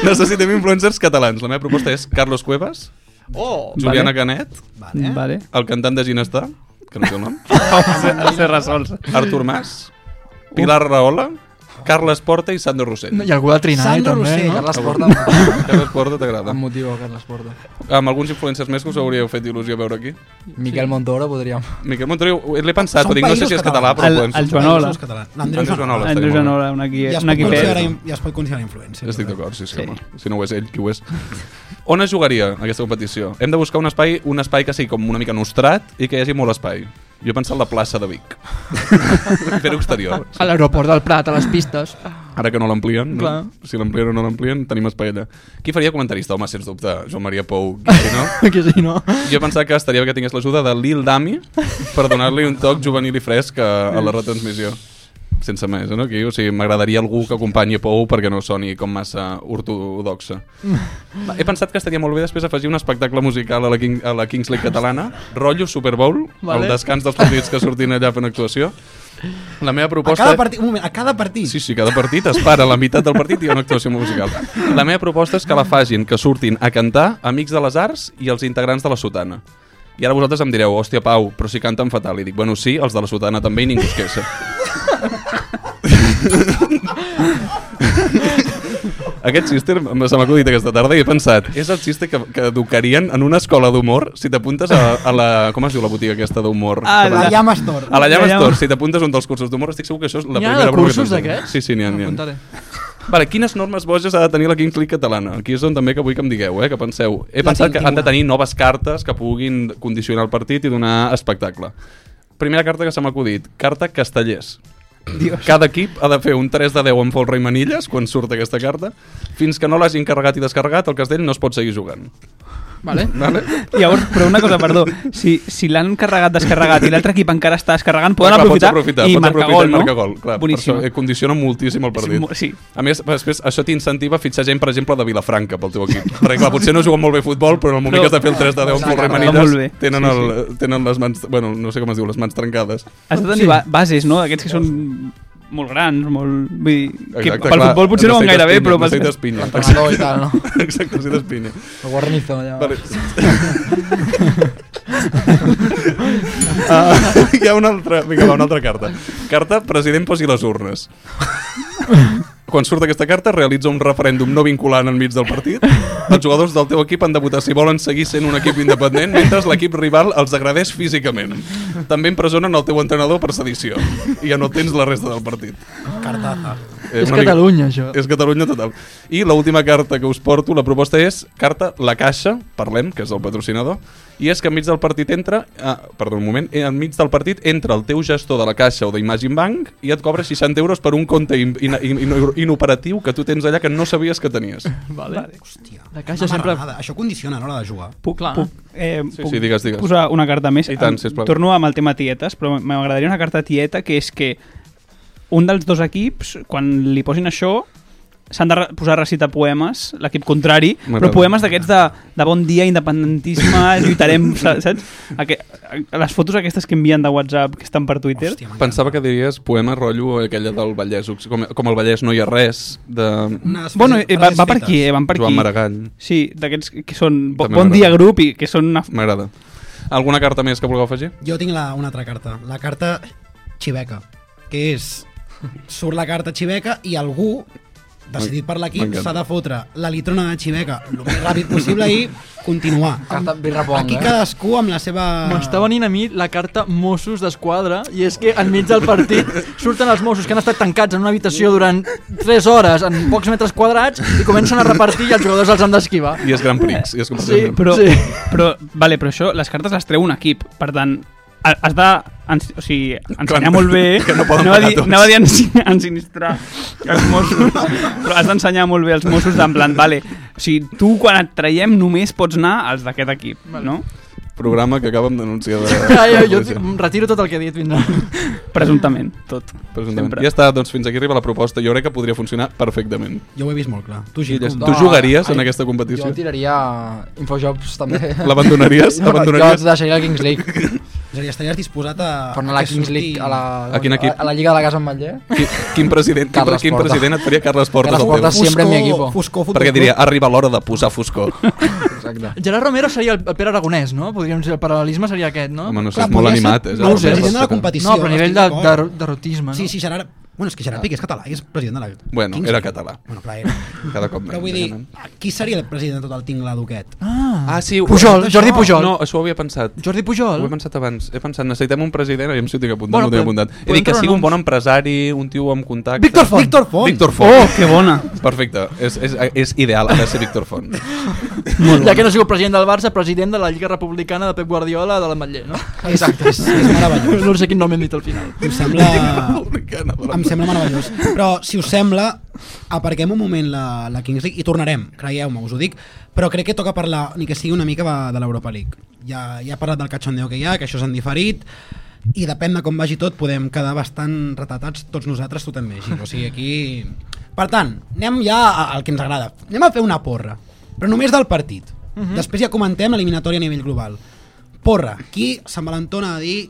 Speaker 8: Necessitem influencers catalans. La meva proposta és Carlos Cuevas,
Speaker 6: Oh!
Speaker 8: Juliana Canet,
Speaker 5: Vale.
Speaker 9: Vale.
Speaker 8: el cantant de Ginestà, que no sé el nom,
Speaker 9: Eh? A ser resolts.
Speaker 8: Artur Mas, Pilar Rahola, Carles Porta i Sandro Rossell.
Speaker 6: I algú de Trinai,
Speaker 5: Sandro
Speaker 6: també,
Speaker 5: Rossell.
Speaker 6: no?
Speaker 7: Carles Porta,
Speaker 8: Carles Porta t'agrada?
Speaker 7: amb motiu, Carles Porta.
Speaker 8: amb alguns influencers més que us hauríeu fet il·lusió veure aquí.
Speaker 7: Miquel Montoro, podríem.
Speaker 8: Miquel Montoro, l'he pensat,
Speaker 5: Són
Speaker 8: però dic, no sé
Speaker 5: països
Speaker 8: si és català,
Speaker 9: El-
Speaker 5: catalans.
Speaker 8: però el,
Speaker 9: el
Speaker 8: podem... El,
Speaker 9: Joan- Joanola.
Speaker 5: Els catalans. L'Andreu
Speaker 8: Andreu
Speaker 5: Joanola.
Speaker 8: Joanola.
Speaker 9: Andreu Janola, un aquí,
Speaker 5: Ja es,
Speaker 9: un
Speaker 5: pot
Speaker 9: aquí
Speaker 5: considerar,
Speaker 9: perd.
Speaker 5: ja es pot considerar influencer.
Speaker 8: Estic d'acord, sí, sí,
Speaker 9: Sí.
Speaker 8: sí. Home. Si no ho és ell, qui ho és? On es jugaria aquesta competició? Hem de buscar un espai un espai que sigui com una mica nostrat i que hi hagi molt espai. Jo he pensat la plaça de Vic. Fer exterior.
Speaker 6: A l'aeroport del Prat, a les pistes.
Speaker 8: Ara que no l'amplien, no?
Speaker 6: Clar.
Speaker 8: si l'amplien o no l'amplien, tenim espai allà. Qui faria comentarista? Home, sens dubte, Joan Maria Pou, Guixi, no?
Speaker 6: Que sí, no?
Speaker 8: Jo pensava que estaria bé que tingués l'ajuda de Lil Dami per donar-li un toc juvenil i fresc a, a la retransmissió. sense més, eh, no? Aquí, o sigui, m'agradaria algú que acompanyi Pou perquè no soni com massa ortodoxa. Va, He pensat que estaria molt bé després afegir un espectacle musical a la, King, a la Kings League catalana, rotllo Super Bowl,
Speaker 9: Vale.
Speaker 8: el descans dels partits que sortin allà fent actuació. La meva
Speaker 5: A
Speaker 8: proposta...
Speaker 5: cada partit, un moment, a cada partit.
Speaker 8: Sí, sí, cada partit es para a la meitat del partit i hi ha una actuació musical. La meva proposta és que la fagin, que surtin a cantar Amics de les Arts i els integrants de la Sotana. I ara vosaltres em direu, hòstia, Pau, però si canten fatal. I dic, bueno, sí, els de la Sotana també i ningú es queixa. Aquest xiste em- se m'ha acudit aquesta tarda i he pensat, és el xiste que, que educarien en una escola d'humor si t'apuntes a, a la... Com es diu la botiga aquesta d'humor?
Speaker 9: Ah,
Speaker 5: La
Speaker 8: Que van-
Speaker 5: llama Store.
Speaker 8: a la Llamas
Speaker 9: La Llama-
Speaker 8: Tor, si t'apuntes a un dels cursos d'humor, estic segur que això és la
Speaker 6: N'hi ha de
Speaker 8: primera broma que
Speaker 6: cursos
Speaker 8: t'ensenyen.
Speaker 6: d'aquests?
Speaker 8: Sí, sí, n'hi ha, n'hi ha.
Speaker 6: Apuntaré.
Speaker 8: Vale, quines normes boges ha de tenir la Kings League catalana? Aquí és on també que vull que em digueu, eh, que penseu. He
Speaker 5: La
Speaker 8: pensat
Speaker 5: tinc,
Speaker 8: que
Speaker 5: tinc
Speaker 8: han de
Speaker 5: una.
Speaker 8: tenir noves cartes que puguin condicionar el partit i donar espectacle. Primera carta que se m'ha acudit, carta castellers. Dios. Cada equip ha de fer un 3 de 10 amb folre i manilles quan surt aquesta carta. Fins que no l'hagin carregat i descarregat, el castell no es pot seguir jugant.
Speaker 6: Vale.
Speaker 8: Vale?
Speaker 9: Llavors, però una cosa, perdó, si, si l'han carregat, descarregat i l'altre equip encara està descarregant, poden
Speaker 8: Clar, clar,
Speaker 9: aprofitar,
Speaker 8: pots aprofitar,
Speaker 9: i
Speaker 8: pots
Speaker 9: marcar
Speaker 8: aprofitar
Speaker 9: gol, no?
Speaker 8: marcar gol. Clar,
Speaker 9: Boníssim.
Speaker 8: Per això, eh, condiciona moltíssim el
Speaker 9: Sí,
Speaker 8: partit.
Speaker 9: mo- sí.
Speaker 8: A més, després, això t'incentiva a fitxar gent, per exemple, de Vilafranca pel teu equip. Perquè, clar, potser no juguen molt bé a futbol, però en el moment
Speaker 9: Però-
Speaker 8: que has de fer el 3 de 10 amb folre i
Speaker 9: Va molt bé.
Speaker 8: manilles, tenen,
Speaker 9: Sí,
Speaker 8: el, tenen les mans... Bueno, no sé com es diu, les mans trencades.
Speaker 9: Has de tenir sí. bases, no? Aquests que són molt grans, molt... Vull dir, que
Speaker 8: Exacte,
Speaker 9: pel
Speaker 8: clar,
Speaker 9: futbol potser no van gaire bé,
Speaker 8: necessites
Speaker 9: però...
Speaker 8: pinya,
Speaker 9: Pel...
Speaker 7: L'entrenador
Speaker 8: Necessites pinya.
Speaker 7: i tal, Ah, no?
Speaker 8: Exacte, necessites pinya.
Speaker 7: El guarnizo, allà.
Speaker 8: Vale. Ah, hi ha una altra, vinga, va, una altra carta. Carta, president posi les urnes. Quan surt aquesta carta, realitza un referèndum no vinculant enmig del partit. Els jugadors del teu equip han de votar si volen seguir sent un equip independent mentre l'equip rival els agradés físicament. També empresonen el teu entrenador per sedició i ja no tens la resta del partit.
Speaker 5: Cartaza.
Speaker 8: Eh,
Speaker 6: és
Speaker 8: una mica-
Speaker 6: Catalunya, això.
Speaker 8: és Catalunya total. I l'última carta que us porto, la proposta és carta La Caixa, parlem, que és el patrocinador, i és que enmig del partit entra, ah, perdó, un moment, eh, enmig del partit entra el teu gestor de la Caixa o d'Imagine Bank i et cobra 60 euros per un compte in, in, in, inoperatiu que tu tens allà que no sabies que tenies.
Speaker 6: Vale. vale.
Speaker 5: Hòstia.
Speaker 6: La caixa sempre...
Speaker 5: Això condiciona a l'hora de jugar.
Speaker 9: Puc,
Speaker 6: Clar.
Speaker 9: puc, eh,
Speaker 8: Sí,
Speaker 9: puc
Speaker 8: sí, digues, digues.
Speaker 9: posar una carta més.
Speaker 8: I tant,
Speaker 9: Em-
Speaker 8: sisplau.
Speaker 9: Torno amb el tema tietes, però m'agradaria una carta tieta que és que un dels dos equips, quan li posin això, s'han de re- posar a recitar poemes, l'equip contrari, però
Speaker 8: M'agrada.
Speaker 9: poemes d'aquests de, de bon dia, independentisme, lluitarem, sa- saps? Aque, les fotos aquestes que envien de WhatsApp, que estan per Twitter,
Speaker 5: Hòstia, m'encanta.
Speaker 8: Pensava que diries poema rotllo aquella del Vallès, Occ- com, com el Vallès no hi ha res, de
Speaker 5: Unes
Speaker 9: Bueno,
Speaker 5: frases-
Speaker 9: eh, va, va per
Speaker 5: frases
Speaker 9: aquí, eh,
Speaker 5: fetes.
Speaker 9: van per
Speaker 8: Joan
Speaker 9: aquí.
Speaker 8: Maragall.
Speaker 9: Sí, d'aquests que són bo,
Speaker 8: També
Speaker 9: Bon Dia
Speaker 8: m'agrada.
Speaker 9: Grup i que són una...
Speaker 8: M'agrada. Alguna carta més que vulgueu afegir?
Speaker 7: eh.
Speaker 5: Jo tinc la, una altra carta, la carta xiveca, que és... Surt la carta xiveca i algú, decidit per l'equip,
Speaker 8: M'encanta.
Speaker 5: s'ha de fotre la litrona de xiveca el més ràpid possible i continuar.
Speaker 7: Carta birrapong,
Speaker 5: Aquí
Speaker 7: eh?
Speaker 5: cadascú amb la seva...
Speaker 6: M'està venint a mi la carta Mossos d'Esquadra i és que enmig del partit surten els Mossos que han estat tancats en una habitació durant 3 hores en pocs metres quadrats i comencen a repartir i els jugadors els han d'esquivar.
Speaker 8: I és Gran Prix. I és
Speaker 6: Sí,
Speaker 8: completament-
Speaker 9: Però,
Speaker 6: sí.
Speaker 9: sí. però, vale, però això, les cartes les treu un equip, per tant, ha- has de ens, o sigui, ensenyar molt bé
Speaker 8: que no poden
Speaker 9: anava, a
Speaker 8: pagar
Speaker 9: dir,
Speaker 8: tots.
Speaker 9: anava a dir ens- ensinistrar els Mossos però has d'ensenyar molt bé els Mossos d'en plan, vale, o sigui, tu quan et traiem només pots anar als d'aquest equip no?
Speaker 8: programa que acabem d'anunciar de...
Speaker 6: Ja, ja,
Speaker 8: de
Speaker 6: jo
Speaker 8: policia.
Speaker 6: em retiro tot el que he dit fins ara.
Speaker 9: presumptament, tot
Speaker 8: Presumptament.
Speaker 9: Sempre.
Speaker 8: Ja està, doncs fins aquí arriba la proposta. Jo crec que podria funcionar perfectament.
Speaker 5: Jo ho he vist molt clar. Tu, Gil,
Speaker 8: Illes,
Speaker 5: com...
Speaker 8: tu jugaries en aquesta competició?
Speaker 7: Doncs, Jo tiraria Infojobs, també.
Speaker 8: L'abandonaries?
Speaker 7: Jo,
Speaker 8: Abandonaries?
Speaker 7: Jo deixaria el Kings League.
Speaker 5: És a dir, estaries disposat a...
Speaker 7: Per anar a la
Speaker 5: que
Speaker 7: Kings
Speaker 5: surti-
Speaker 7: League, a la,
Speaker 8: A quin equip?
Speaker 7: A, la Lliga de la Casa amb Matller.
Speaker 8: Qui, quin president, quin,
Speaker 7: Carles
Speaker 8: quin
Speaker 7: Porta.
Speaker 8: president et faria Carles Portes
Speaker 7: Carles
Speaker 8: al
Speaker 7: Porta
Speaker 8: teu?
Speaker 7: sempre en mi equipo.
Speaker 5: Fusco, Futbol
Speaker 8: Perquè diria, ah,
Speaker 5: Club.
Speaker 8: arriba l'hora de posar foscor.
Speaker 7: Exacte.
Speaker 6: Gerard Romero seria el Pere Aragonès, no? Podríem dir, el paral·lelisme seria aquest, no?
Speaker 8: Home, no sé,
Speaker 5: Clar,
Speaker 8: és molt
Speaker 5: podria ser
Speaker 8: animat. És
Speaker 5: nou
Speaker 8: el Carles
Speaker 5: president de la
Speaker 8: Porta.
Speaker 5: competició.
Speaker 6: no, però a nivell de,
Speaker 5: estic
Speaker 6: de,
Speaker 5: d'acord.
Speaker 6: derrotisme, no?
Speaker 5: Sí, sí, Gerard... Bueno, és que Gerard Piqué és català i és president de la...
Speaker 8: Bueno,
Speaker 5: Kings
Speaker 8: era
Speaker 5: League.
Speaker 8: català.
Speaker 5: Bueno, clar, era.
Speaker 8: Cada cop
Speaker 5: Però
Speaker 8: menys.
Speaker 5: vull dir, qui seria el president de tot el tinglado aquest?
Speaker 8: Ah, sí. ho-
Speaker 6: Pujol, Jordi Pujol.
Speaker 8: No, això ho havia pensat.
Speaker 6: Jordi
Speaker 8: Ho
Speaker 6: Pujol?
Speaker 8: he pensat abans. He pensat, necessitem un president, aviam si ho tinc apuntat,
Speaker 6: Bueno,
Speaker 8: no ho tinc
Speaker 6: podem-
Speaker 8: apuntat. He
Speaker 6: podem
Speaker 8: dit que
Speaker 6: treure
Speaker 8: sigui un
Speaker 6: noms.
Speaker 8: bon empresari, un tio amb contacte.
Speaker 6: Víctor Font!
Speaker 5: Víctor Font!
Speaker 8: Víctor Font.
Speaker 9: oh, que bona
Speaker 8: Perfecte, és, és, és ideal, ha de ser Víctor Font.
Speaker 6: Ja que no sigut president del Barça, president de la Lliga Republicana de Pep Guardiola de l'Ametller, no?
Speaker 5: Exacte, és, és meravellós.
Speaker 6: No sé quin nom hem dit al final.
Speaker 5: Em sembla,
Speaker 8: Republicana de la-
Speaker 5: em sembla meravellós. Però, si us sembla, aparquem un moment la, la Kings League i tornarem, creieu-me, us ho dic, però crec que toca parlar, ni que sigui una mica va, de l'Europa League. Ja, ja he parlat del cachondeo que hi ha, que això s'han diferit, i depèn de com vagi tot podem quedar bastant retratats tots nosaltres, tu també, Gil. O sigui, aquí... Per tant, anem ja a- al que ens agrada. Anem a fer una porra, però només del partit. Després ja comentem l'eliminatòria a nivell global. Porra, qui s'envalentona a dir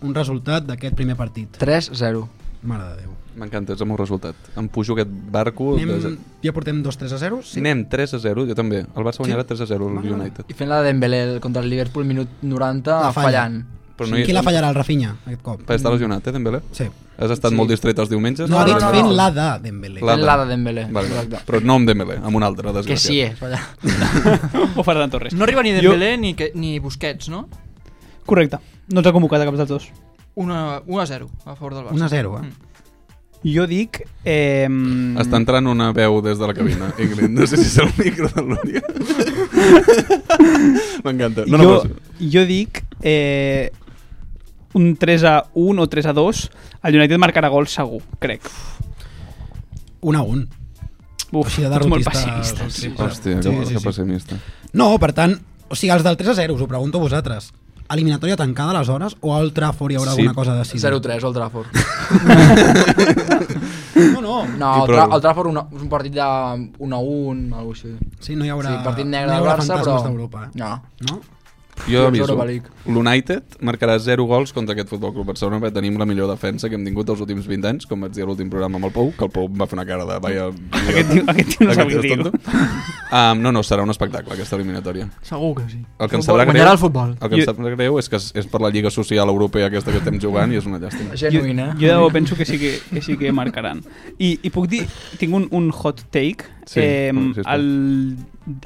Speaker 5: un resultat d'aquest primer partit?
Speaker 7: 3-0.
Speaker 5: Mare de Déu.
Speaker 8: M'encanta, és el meu resultat. Em pujo aquest barco... De...
Speaker 5: Anem, ja portem 2-3 a 0?
Speaker 8: Sí. Anem 3 a 0, jo també. El Barça guanyarà 3 a 0 el United.
Speaker 7: I fent la de Dembélé contra el Liverpool, minut 90,
Speaker 5: La falla.
Speaker 7: fallant.
Speaker 8: Però
Speaker 5: Qui la fallarà, el Rafinha, aquest cop?
Speaker 8: Per estar lesionat, eh, Dembélé?
Speaker 5: Sí.
Speaker 8: Has estat sí. molt distret els diumenges?
Speaker 5: No, ha dit
Speaker 7: no, no.
Speaker 5: fent la de Dembélé.
Speaker 8: La
Speaker 7: Fent
Speaker 8: de-
Speaker 7: la de Dembélé.
Speaker 8: Vale,
Speaker 7: correcte.
Speaker 8: vale. Però no amb Dembélé, amb un altre,
Speaker 7: Que
Speaker 6: eh.
Speaker 7: sí, eh,
Speaker 8: desgraciat.
Speaker 7: és fallar.
Speaker 9: o Ferran Torres.
Speaker 6: No arriba ni
Speaker 9: Jo-
Speaker 6: Dembélé ni, que, ni Busquets, no?
Speaker 9: Correcte, no ens ha convocat a cap dels dos.
Speaker 6: 1 a 0 a favor del Barça.
Speaker 5: 1 a 0, eh?
Speaker 9: Jo dic... Eh,
Speaker 8: Està entrant una veu des de la cabina, Ingrid. No sé si és el micro de l'Úria. M'encanta. No, no,
Speaker 9: jo,
Speaker 8: però...
Speaker 9: jo dic eh, un 3 a 1 o 3 a 2 el United marcarà gol segur, crec.
Speaker 5: 1 a 1.
Speaker 9: Uf,
Speaker 5: Així de
Speaker 9: tots molt
Speaker 5: derrotistes.
Speaker 9: pessimistes.
Speaker 5: Sí,
Speaker 8: Hòstia, que, sí, sí, que pessimista.
Speaker 5: No, per tant, o sigui, els del 3 a 0, us ho pregunto a vosaltres. Eliminatòria tancada aleshores o al Trafford hi haurà
Speaker 8: Sí.
Speaker 5: alguna cosa decidida?
Speaker 7: 0-3 al Trafford.
Speaker 5: No, no.
Speaker 7: No,
Speaker 8: I
Speaker 7: el, tra
Speaker 8: prou.
Speaker 7: el Trafford una, és un partit de 1 a 1 o alguna cosa així.
Speaker 5: Sí, no hi haurà,
Speaker 7: sí, partit negre
Speaker 5: no hi
Speaker 7: del
Speaker 5: haurà
Speaker 7: Barça, però...
Speaker 5: fantasmes d'Europa. Eh?
Speaker 7: No.
Speaker 5: No.
Speaker 8: Jo
Speaker 7: Jo
Speaker 8: aviso,
Speaker 7: Europa League.
Speaker 8: l'United marcarà 0 gols contra aquest Futbol Club Barcelona perquè tenim la millor defensa que hem tingut els últims 20 anys, com vaig dir a l'últim programa amb el Pou, que el Pou em va fer una cara de... Vaya,
Speaker 9: Aquest tio, aquest tio no sap què
Speaker 8: és
Speaker 9: diu.
Speaker 8: tonto. Um, no, no, serà un espectacle aquesta eliminatòria.
Speaker 6: Segur que sí.
Speaker 8: El que em sabrà greu,
Speaker 6: Guanyarà el futbol.
Speaker 8: el que em
Speaker 9: Jo-
Speaker 8: sap greu és que és, és per la Lliga Social Europea aquesta que estem jugant i és una llàstima.
Speaker 7: Genuïn, eh?
Speaker 9: Jo de debò penso que sí que, que, sí que marcaran. I, I puc dir, tinc un, un hot take. eh,
Speaker 8: Sí, home, sisplau.
Speaker 9: el,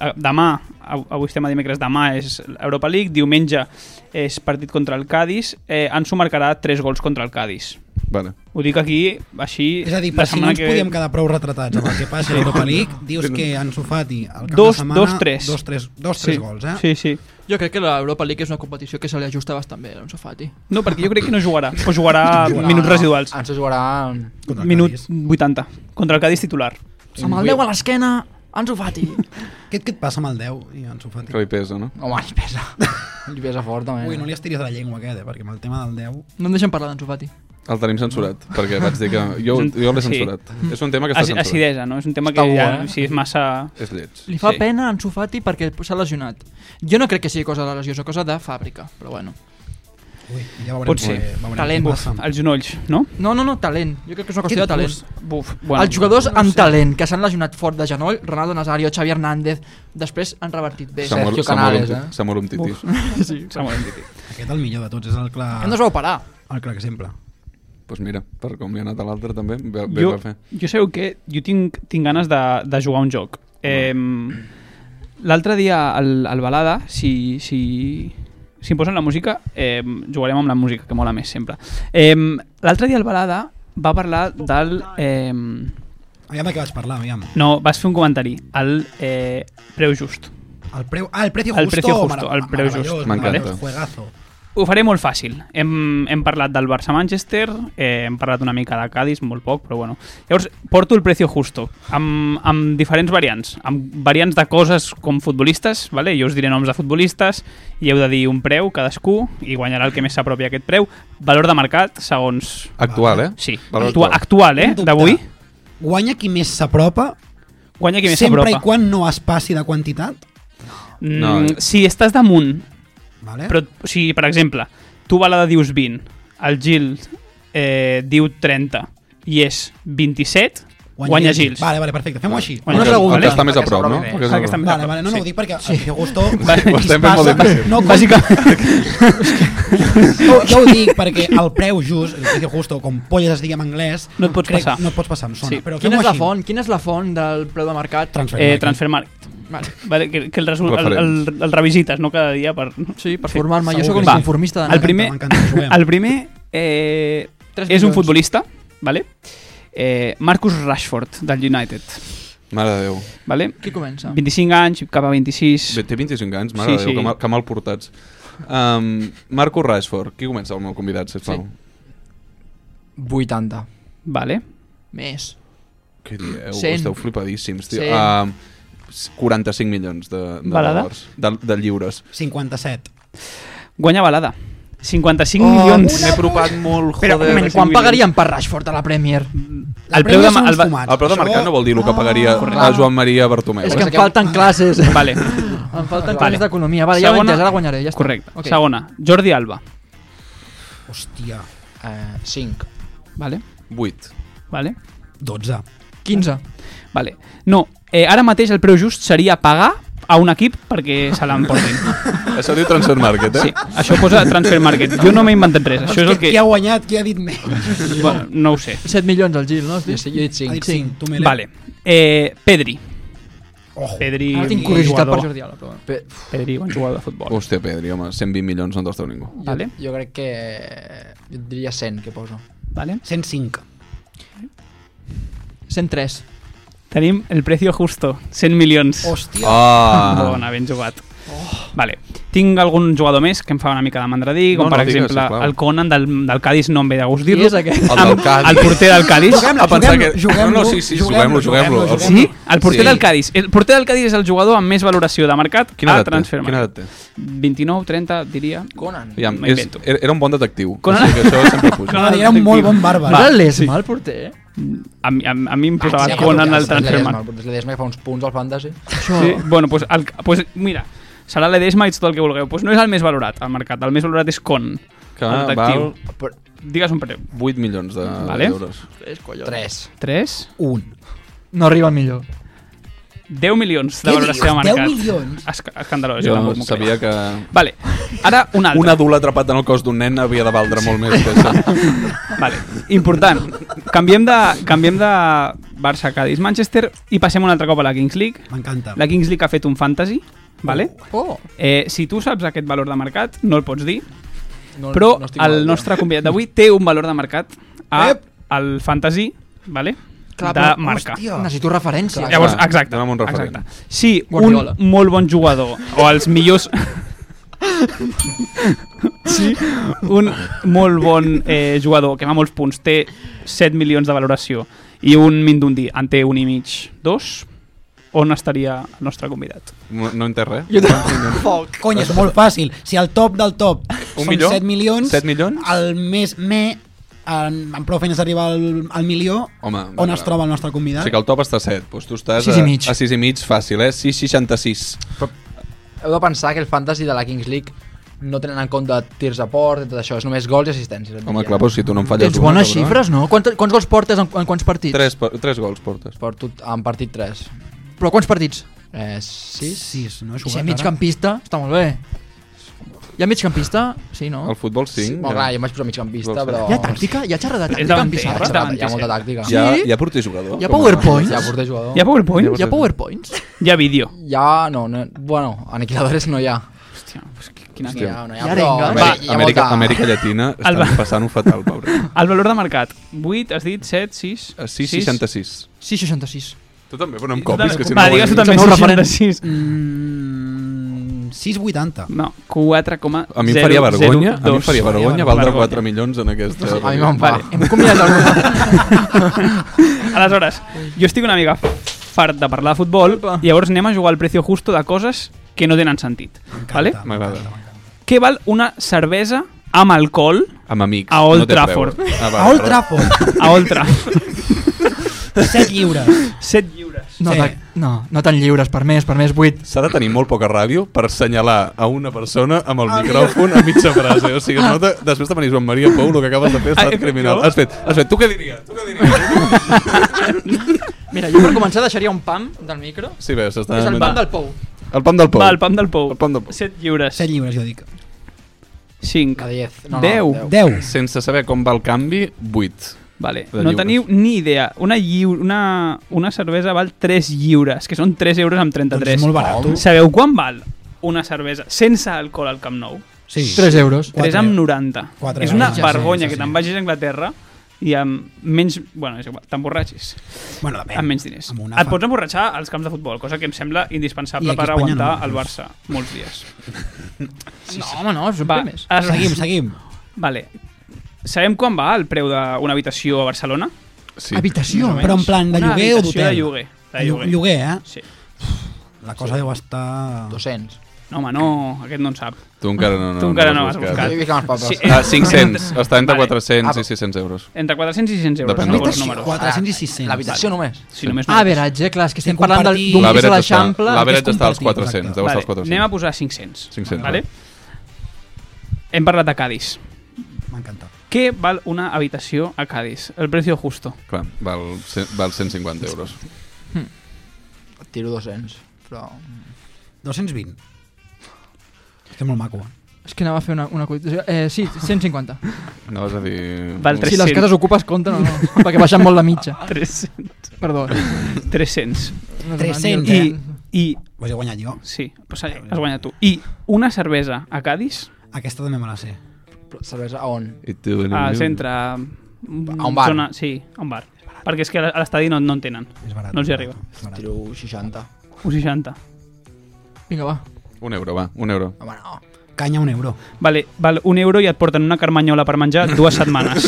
Speaker 9: a- demà, av- avui estem a dimecres, demà és Europa League, diumenge és partit contra el Cádiz, eh, Ansu marcarà 3 gols contra el Cádiz.
Speaker 8: Vale.
Speaker 9: Ho dic aquí, així...
Speaker 5: És a dir,
Speaker 9: la
Speaker 5: per si no
Speaker 9: setmana
Speaker 5: ens podíem quedar prou retratats amb el que passa a l'Europa League, dius que Ansu Fati al cap
Speaker 9: Dos-
Speaker 5: de setmana...
Speaker 9: dos, tres.
Speaker 5: Dos, tres, dos, tres gols, eh?
Speaker 9: Sí, sí.
Speaker 6: Jo crec que l'Europa League és una competició que se li ajusta bastant bé a Alonso Fati.
Speaker 9: No, perquè jo crec que no jugarà. O jugarà minuts residuals.
Speaker 7: Ens jugarà...
Speaker 5: Ah, Contra el
Speaker 9: Minut
Speaker 5: Cádiz.
Speaker 9: 80. Contra el Cádiz titular.
Speaker 6: Amb el 10 a l'esquena, Ansu Fati.
Speaker 5: Què, què et passa amb el 10 i Ansu Fati?
Speaker 8: Que li pesa, no?
Speaker 7: Home, li pesa. li pesa fort, també.
Speaker 5: Ui, no li estiris de la llengua aquest, eh? perquè amb el tema del 10...
Speaker 6: No em deixen parlar d'Ansu Fati.
Speaker 8: El tenim censurat, perquè vaig dir que... Jo, jo l'he
Speaker 9: Sí.
Speaker 8: censurat. És un tema que està
Speaker 9: Ac-
Speaker 8: censurat.
Speaker 9: Acidesa, no? És un tema que
Speaker 7: Està bo,
Speaker 9: ja,
Speaker 7: eh?
Speaker 9: si és massa...
Speaker 8: És lleig.
Speaker 6: Li fa
Speaker 9: Sí.
Speaker 6: sí. pena a Ansu Fati perquè s'ha lesionat. Jo no crec que sigui cosa de lesió, és cosa de fàbrica, però bueno.
Speaker 5: Ui, ja veurem
Speaker 9: Pot ser.
Speaker 5: què- veurem
Speaker 6: Talent.
Speaker 5: què
Speaker 6: Buf,
Speaker 5: passa.
Speaker 9: Els genolls, no?
Speaker 6: No, no, no, talent. Jo crec que és una qüestió
Speaker 5: Quin
Speaker 6: de talent.
Speaker 5: gust.
Speaker 9: Buf.
Speaker 6: Bueno, Els jugadors amb talent que s'han lesionat fort de genoll, Ronaldo Nazario, Xavi Hernández, després han revertit bé.
Speaker 7: Samuel- Sergio Canales,
Speaker 8: Samuel,
Speaker 7: eh?
Speaker 8: Samuel Umtiti.
Speaker 9: Sí, Samuel Umtiti.
Speaker 5: Aquest el millor de tots, és el clar,
Speaker 6: Hem de saber operar.
Speaker 5: el clar exemple.
Speaker 8: Doncs mira, per com li ha anat a l'altre també, bé, bé
Speaker 9: Jo,
Speaker 8: va fer.
Speaker 9: jo sabeu que jo tinc, tinc ganes de, de jugar a un joc. Eh, L'altre dia al, al Balada, si, si, si em posen la música, eh, jugarem amb la música, que mola més sempre. Eh, L'altre dia al Balada va parlar del... Eh,
Speaker 5: Aviam Ah, de què vaig parlar, aviam.
Speaker 9: no, vas fer un comentari, el eh, preu just.
Speaker 5: El preu, ah, el precio
Speaker 9: El
Speaker 5: justo.
Speaker 9: precio justo,
Speaker 5: mara-
Speaker 9: el preu just.
Speaker 5: meravellós,
Speaker 8: M'encanta.
Speaker 5: meravellós, Juegazo.
Speaker 9: Ho faré molt fàcil. Hem, hem parlat del Barça-Manchester, eh, hem parlat una mica de Cádiz, molt poc, però bueno. Llavors, porto el precio justo, amb, amb diferents variants, amb variants de coses com futbolistes, vale? jo us diré noms de futbolistes, i heu de dir un preu cadascú, i guanyarà el que més s'apropi a aquest preu. Valor de mercat, segons...
Speaker 8: Actual, eh?
Speaker 9: Sí,
Speaker 8: Valor
Speaker 9: actua, actual, eh?
Speaker 5: Un dubte.
Speaker 9: D'avui.
Speaker 5: Guanya qui més s'apropa,
Speaker 9: Guanya qui més
Speaker 5: sempre i
Speaker 9: s'apropa.
Speaker 5: quan no es passi de quantitat.
Speaker 9: Mm,
Speaker 8: No, eh.
Speaker 9: si estàs damunt
Speaker 5: Vale?
Speaker 9: Però, o sigui, per exemple, tu Balada dius 20, el Gil eh, diu 30 i és 27, guanya, guanya Gils.
Speaker 5: Vale, vale, perfecte. Fem-ho així.
Speaker 9: Guanya
Speaker 8: El que-
Speaker 9: Gils,
Speaker 8: El que està
Speaker 9: vale?
Speaker 8: més a prop, no?
Speaker 7: Perquè
Speaker 8: El que és
Speaker 9: Ah,
Speaker 8: a
Speaker 9: que està
Speaker 8: prop.
Speaker 9: més a
Speaker 5: Vale,
Speaker 9: prop,
Speaker 5: vale, no, no,
Speaker 9: sí.
Speaker 5: ho dic perquè sí. el Justo
Speaker 8: ho estem fent molt difícil.
Speaker 5: No, com... jo, jo ho dic perquè el preu just, el precio justo, com polles es digui en anglès,
Speaker 9: No et pots
Speaker 5: crec,
Speaker 9: passar.
Speaker 5: No et pots passar, em sona.
Speaker 9: Sí.
Speaker 5: Sí. Però
Speaker 6: Quina
Speaker 5: fem-ho
Speaker 6: és la
Speaker 5: així.
Speaker 6: font? Quina és la font del preu de mercat?
Speaker 5: Transfer.
Speaker 9: Eh,
Speaker 5: market.
Speaker 9: Transfer Market.
Speaker 6: Vale.
Speaker 9: Vale, que, que el, resu- el, el,
Speaker 8: Referents.
Speaker 9: el, revisites, no cada dia per...
Speaker 6: Sí, per formar-me. Jo
Speaker 5: Segur
Speaker 6: sóc un
Speaker 5: que sí.
Speaker 6: conformista de
Speaker 9: el
Speaker 6: mercat.
Speaker 9: primer,
Speaker 5: m'encanta, juguem.
Speaker 9: el primer eh,
Speaker 6: Tres
Speaker 9: és un
Speaker 6: milions.
Speaker 9: futbolista, vale? Eh, Marcus Rashford, del United,
Speaker 8: Mare de Déu.
Speaker 9: vale?
Speaker 6: Qui comença?
Speaker 9: 25 anys, cap a 26...
Speaker 8: Bé, Té 25 anys, mare de
Speaker 9: Sí,
Speaker 8: Déu,
Speaker 9: sí.
Speaker 8: que mal, que mal portats. Um, Marco Rashford, qui comença el meu convidat, sisplau? Sí.
Speaker 7: 80.
Speaker 9: Vale.
Speaker 6: Més.
Speaker 8: Què dieu?
Speaker 6: Cent.
Speaker 8: Esteu flipadíssims, tio.
Speaker 6: Cent.
Speaker 8: Um, 45 milions de, de
Speaker 9: Balada?
Speaker 8: dòlars, de, de lliures.
Speaker 5: 57.
Speaker 9: Guanya balada. 55
Speaker 6: Oh,
Speaker 9: oh, milions.
Speaker 8: M'he propat molt, joder.
Speaker 9: Espera, un moment,
Speaker 8: de cinc
Speaker 6: Quan
Speaker 8: milions.
Speaker 6: pagaríem per Rashford a la Premier?
Speaker 9: El preu de... ma- El, va-
Speaker 5: Ah,
Speaker 8: El preu de mercat no vol dir el que pagaria a Joan Maria Bartomeu.
Speaker 6: És
Speaker 8: eh?
Speaker 6: que em falten classes.
Speaker 9: Vale.
Speaker 6: Em falten
Speaker 9: Vale.
Speaker 6: classes d'economia. Vale, ja ho he entès, ara guanyaré. Ja està.
Speaker 9: Correcte.
Speaker 6: Ok.
Speaker 9: Okay. Segona, Jordi Alba.
Speaker 5: Hòstia,
Speaker 7: Eh, 5.
Speaker 9: Vale,
Speaker 8: 8.
Speaker 9: vale,
Speaker 5: 12.
Speaker 6: 15.
Speaker 9: vale. No, eh, ara mateix el preu just seria pagar a un equip perquè se l'emportin.
Speaker 8: Això diu Transfer Market, eh?
Speaker 9: Sí, això posa Transfer Market. Jo no m'he inventat res, això és el que...
Speaker 5: Qui ha guanyat, qui ha dit menys?
Speaker 9: Bueno, no ho sé.
Speaker 6: 7 milions al Gil, no?
Speaker 7: Jo, sé, jo he dit
Speaker 5: Ha
Speaker 7: 5.
Speaker 5: dit 5, tu Mele.
Speaker 9: Vale. Eh, Pedri.
Speaker 5: Ojo.
Speaker 9: Pedri,
Speaker 6: Ara tinc
Speaker 9: bon
Speaker 6: curiositat per
Speaker 9: jugador.
Speaker 6: Jordi Alba, però... bueno.
Speaker 7: Pe
Speaker 9: Pedri, bon jugador de futbol.
Speaker 8: Hòstia, Pedri, home, 120 milions no te'ls deu ningú.
Speaker 7: jo,
Speaker 9: Vale.
Speaker 7: jo crec que... Jo et diria 100, que poso.
Speaker 9: Vale.
Speaker 5: 105.
Speaker 6: 103.
Speaker 9: Tenim el precio justo, 100 milions.
Speaker 5: Hòstia.
Speaker 8: Ah!
Speaker 9: Bona, ben jugat. Vale. Tinc algun jugador més que em fa una mica de mandradí,
Speaker 8: No,
Speaker 9: com
Speaker 8: no,
Speaker 9: per
Speaker 8: digues,
Speaker 9: exemple
Speaker 8: sisplau.
Speaker 9: el Conan del, del Cádiz, no em ve de gust
Speaker 6: Qui
Speaker 9: dir-lo.
Speaker 6: és aquest?
Speaker 8: El del Cádiz.
Speaker 9: El porter del Cádiz.
Speaker 5: Juguem-lo,
Speaker 8: A pensar
Speaker 5: juguem-lo,
Speaker 8: que-
Speaker 5: juguem-lo,
Speaker 8: No, no, sí, sí, juguem-lo, juguem-lo.
Speaker 9: Sí? El porter
Speaker 8: Sí.
Speaker 9: sí. del Cádiz. El porter del Cádiz és el jugador amb més valoració de mercat
Speaker 8: Quina
Speaker 9: a
Speaker 8: edat té?
Speaker 9: transfer.
Speaker 8: Quina
Speaker 9: Market.
Speaker 8: edat té?
Speaker 9: 29, 30, diria.
Speaker 7: Conan.
Speaker 8: Ja,
Speaker 9: M'ho
Speaker 8: és,
Speaker 9: invento.
Speaker 8: era era un bon detectiu.
Speaker 9: Con-
Speaker 8: O sigui que això sempre puja.
Speaker 5: No, era un molt bon
Speaker 6: No
Speaker 5: bàrbar.
Speaker 6: era
Speaker 9: Va,
Speaker 6: l'Esma, el porter, eh?
Speaker 9: A mi, a, a mi em
Speaker 6: Ah,
Speaker 9: posava
Speaker 7: Sí,
Speaker 9: Conan
Speaker 7: és
Speaker 9: al transfer.
Speaker 7: Ledesma,
Speaker 9: Market.
Speaker 7: El Ledesma que fa uns punts al fantasy.
Speaker 9: Sí? Bueno, pues, el, pues mira, serà l'Edesma i tot el que vulgueu. Pues no és el més valorat al mercat. El més valorat és Con.
Speaker 8: Que
Speaker 9: el detectiu.
Speaker 8: val
Speaker 7: Però,
Speaker 9: Digues un preu.
Speaker 8: 8 milions de-
Speaker 9: Vale.
Speaker 8: d'euros.
Speaker 7: 3.
Speaker 9: 3?
Speaker 5: 1.
Speaker 6: No arriba al millor.
Speaker 9: 10 milions de
Speaker 5: Què
Speaker 9: valoració de
Speaker 5: dius?
Speaker 9: mercat.
Speaker 5: 10 milions?
Speaker 9: Esca- Escandalós, jo,
Speaker 8: Jo
Speaker 9: tampoc m'ho
Speaker 8: sabia
Speaker 9: creia.
Speaker 8: que
Speaker 9: Vale, ara un altre.
Speaker 8: un adult atrapat en el cos d'un nen havia de valdre molt més que això.
Speaker 9: Vale, important. Canviem de, canviem de Barça, Cádiz, Manchester i passem un altre cop a la Kings League.
Speaker 5: M'encanta.
Speaker 9: La Kings League ha fet un fantasy, vale?
Speaker 6: Oh!
Speaker 9: Eh, si tu saps aquest valor de mercat, no el pots dir,
Speaker 7: No,
Speaker 9: però
Speaker 7: no estic
Speaker 9: el
Speaker 7: mal,
Speaker 9: nostre convidat d'avui té un valor de mercat a,
Speaker 5: Ep!
Speaker 9: al fantasy, vale?
Speaker 6: Clar,
Speaker 9: de
Speaker 6: però-
Speaker 9: marca.
Speaker 6: Necessito referències.
Speaker 8: Clar,
Speaker 9: Llavors, exacte.
Speaker 8: anem amb un referent.
Speaker 9: exacte. Si
Speaker 6: Guardiola.
Speaker 9: un molt bon jugador o els millors... sí, un molt bon eh, jugador que va a molts punts té 7 milions de valoració i un Mindundi en té un i mig, dos, on estaria el nostre convidat?
Speaker 8: No, no he entès res.
Speaker 6: Jo tampoc.
Speaker 5: Cony, és molt fàcil. Si el top del top
Speaker 8: Un
Speaker 5: són
Speaker 8: milió?
Speaker 5: 7 milions,
Speaker 8: Set milions?
Speaker 5: el més me, en, amb prou feines arriba al, al milió,
Speaker 8: Home,
Speaker 5: on
Speaker 8: va,
Speaker 5: es
Speaker 8: va.
Speaker 5: troba el nostre
Speaker 8: O
Speaker 5: convidat.
Speaker 8: sigui que el top està a 7, doncs tu estàs
Speaker 6: Sis
Speaker 8: a,
Speaker 6: i mig.
Speaker 8: a 6 i mig fàcil, eh? 6,66.
Speaker 7: Heu de pensar que el fantasy de la Kings League no tenen en compte tirs a port i tot això, és només gols i assistències. et
Speaker 8: Home,
Speaker 7: diria.
Speaker 8: clar, però si tu no en falles
Speaker 6: Tens bones xifres, no? Quants, quants gols portes en, en quants partits?
Speaker 8: 3, 3 gols portes.
Speaker 7: Per tu, en partit 3.
Speaker 6: Però quants partits?
Speaker 7: Eh, 6?
Speaker 5: 6, no?
Speaker 6: Si
Speaker 5: Jugat,
Speaker 6: és migcampista, està molt bé. Hi ha migcampista? Sí, no?
Speaker 8: Al futbol 5.
Speaker 7: Sí, bueno, clar, jo em vaig posar migcampista,
Speaker 8: Vols
Speaker 7: però...
Speaker 8: fer?
Speaker 6: Hi ha tàctica? Hi ha xerrada de
Speaker 9: davanter,
Speaker 6: tàctica? en
Speaker 9: és
Speaker 6: pista?
Speaker 7: Hi ha molta tàctica.
Speaker 8: Hi ha,
Speaker 6: Sí?
Speaker 8: hi ha porter jugador.
Speaker 6: Hi ha
Speaker 8: Com a-
Speaker 6: powerpoints?
Speaker 7: Hi ha porter jugador.
Speaker 9: Hi ha PowerPoint?
Speaker 6: Hi ha powerpoints?
Speaker 9: Hi ha vídeo.
Speaker 7: Hi ha... No, no, bueno, aniquiladores no hi ha.
Speaker 9: Hòstia, pues, quina...
Speaker 7: Hi ha, no hi
Speaker 6: Hi
Speaker 7: ha,
Speaker 6: ha
Speaker 7: però...
Speaker 6: arenga.
Speaker 7: Va,
Speaker 8: Amèrica,
Speaker 7: hi ha
Speaker 8: Amèrica,
Speaker 7: molta-
Speaker 8: Amèrica Llatina
Speaker 9: El
Speaker 8: estan
Speaker 9: va-
Speaker 8: passant un fatal, pobre. Eh,
Speaker 9: El valor de mercat, 8, has dit, 7, 6...
Speaker 8: A 6,66.
Speaker 6: 6,66.
Speaker 8: Tu també, però no em copis, que si
Speaker 9: Va,
Speaker 8: no...
Speaker 9: digues tu també
Speaker 8: guanyes.
Speaker 6: No ho referent.
Speaker 9: 66.
Speaker 5: Mm, 6,80.
Speaker 9: No, 4,002.
Speaker 8: A mi em faria vergonya, a mi em faria vergonya valdre 4 milions en aquesta...
Speaker 7: A mi me'n va.
Speaker 9: Vale.
Speaker 7: Hem combinat el...
Speaker 9: Aleshores, jo estic una mica fart de parlar de futbol, i llavors anem a jugar al precio justo de coses que no tenen sentit. Vale?
Speaker 8: M'agrada.
Speaker 9: Què val una cervesa amb alcohol
Speaker 8: Amb amics.
Speaker 9: A Old
Speaker 8: no té
Speaker 9: Trafford.
Speaker 8: preu. Ah, va,
Speaker 5: A Old
Speaker 8: però-
Speaker 5: Trafford,
Speaker 9: a Oltra?
Speaker 5: 7 lliures.
Speaker 9: 7 lliures.
Speaker 6: No,
Speaker 5: Sí.
Speaker 6: sí. no, no tan lliures, per més, per més, 8.
Speaker 8: S'ha de tenir molt poca ràdio per assenyalar a una persona amb
Speaker 9: Ah.
Speaker 8: el micròfon a mitja frase. O sigui, es nota, després de venir Joan Maria Pou, el que acabes de fer ha
Speaker 9: Ah,
Speaker 8: estat
Speaker 9: eh,
Speaker 8: criminal.
Speaker 9: jo?
Speaker 8: Has fet, has fet, tu què diries? Tu què diries?
Speaker 6: Mira, jo per començar deixaria un pam del micro.
Speaker 8: Sí, bé, s'està...
Speaker 6: És el
Speaker 8: inventant.
Speaker 6: pam del pou.
Speaker 8: El pam del Pou.
Speaker 9: Va, el pam del pou.
Speaker 8: El pam del pou.
Speaker 9: 7 lliures.
Speaker 5: 7 lliures, jo dic.
Speaker 9: 5.
Speaker 7: A 10. No, no,
Speaker 9: Deu.
Speaker 5: 10.
Speaker 8: Sense saber com va el canvi, 8.
Speaker 9: Vale.
Speaker 8: De
Speaker 9: No
Speaker 8: lliures.
Speaker 9: teniu ni idea. Una, lliu... una, una cervesa val 3 lliures, que són 3 euros amb 33.
Speaker 5: Doncs és molt barat.
Speaker 9: Sabeu quan val una cervesa sense alcohol al Camp Nou?
Speaker 5: Sí.
Speaker 6: 3 euros.
Speaker 9: 3
Speaker 5: Quatre
Speaker 9: amb
Speaker 5: euros.
Speaker 9: 90.
Speaker 5: Quatre
Speaker 9: és una
Speaker 5: euros.
Speaker 9: vergonya
Speaker 5: Sí, sí,
Speaker 9: que
Speaker 5: sí.
Speaker 9: te'n vagis a Anglaterra i amb menys... Bueno, és igual, t'emborratxis.
Speaker 5: Bueno, depèn.
Speaker 9: Amb menys diners.
Speaker 5: Amb una
Speaker 9: Et
Speaker 5: fa-
Speaker 9: pots emborratxar als camps de futbol, cosa que em sembla
Speaker 5: I
Speaker 9: indispensable
Speaker 5: aquí
Speaker 9: per
Speaker 5: a Espanya
Speaker 9: aguantar
Speaker 5: no.
Speaker 9: el Barça molts dies.
Speaker 6: No, home, no, és un
Speaker 9: Va, eh,
Speaker 6: primer.
Speaker 9: aleshores-
Speaker 5: Seguim, seguim.
Speaker 9: Vale. Sabem quan va el preu d'una habitació a Barcelona?
Speaker 8: Sí.
Speaker 6: Habitació.
Speaker 5: Però en plan de
Speaker 9: Una
Speaker 5: lloguer o
Speaker 9: habitació
Speaker 5: d'hotel?
Speaker 9: de lloguer. De
Speaker 5: Llo-
Speaker 9: lloguer.
Speaker 5: Lloguer, eh?
Speaker 9: Sí.
Speaker 5: La cosa deu estar...
Speaker 7: 200.
Speaker 9: No, home, no, aquest no en sap.
Speaker 8: Tu encara no, no,
Speaker 9: Tu encara no
Speaker 8: no
Speaker 9: has buscat.
Speaker 6: Jo hi fico els papers.
Speaker 9: Sí,
Speaker 6: Sí.
Speaker 8: Ah, 500, està entre
Speaker 9: Vale. Ah,
Speaker 8: 400 i 600 euros.
Speaker 9: Entre 400 i 600 euros.
Speaker 8: Depèn
Speaker 9: Depèn
Speaker 8: del
Speaker 9: dels
Speaker 8: preu.
Speaker 9: números.
Speaker 5: 400 i 600.
Speaker 6: L'habitació només.
Speaker 9: Si només no-
Speaker 11: A veratge,
Speaker 5: eh?
Speaker 11: clar, és que estem parlant del-
Speaker 5: compartir-
Speaker 11: d'un pis a
Speaker 8: L'average està,
Speaker 11: l'Eixample.
Speaker 8: l'average està als
Speaker 5: compartit,
Speaker 8: 400, deu estar als
Speaker 9: Vale, anem a
Speaker 8: 400.
Speaker 9: posar 500.
Speaker 8: 500,
Speaker 9: Vale? Hem parlat de Cádiz.
Speaker 5: M'encanta.
Speaker 9: Què val una habitació a Cádiz? El precio justo.
Speaker 8: Clar, val, cent- val 150 euros.
Speaker 6: Tiro 200. Però...
Speaker 5: 220. És que és molt maco. eh?
Speaker 11: És que anava a fer una, una col·lisió. Eh, sí, 150.
Speaker 8: No vas a dir...
Speaker 9: Val
Speaker 8: un-
Speaker 11: Si
Speaker 9: 300.
Speaker 11: les cases ocupes, compten o no? Perquè baixen molt la mitja.
Speaker 9: 300.
Speaker 11: Perdó.
Speaker 9: 300.
Speaker 11: No
Speaker 5: 300,
Speaker 11: I...
Speaker 9: I, i
Speaker 5: Ho he guanyat jo.
Speaker 9: sí, pues has guanyat tu. I una cervesa a Cádiz,
Speaker 5: Aquesta també me la sé.
Speaker 6: però Cervesa a on?
Speaker 8: I tu,
Speaker 9: al centre... A
Speaker 6: un bar.
Speaker 9: Zona, sí, a un bar. Perquè és que a l'estadi no, no en tenen.
Speaker 5: És barat.
Speaker 9: No els hi arriba.
Speaker 5: És barat.
Speaker 6: Tiro 60.
Speaker 9: Un 60.
Speaker 11: Vinga, va.
Speaker 8: Un euro, va, un euro.
Speaker 6: Home, no.
Speaker 5: Canya un euro.
Speaker 9: Vale, val un euro i et porten una carmanyola per menjar dues setmanes.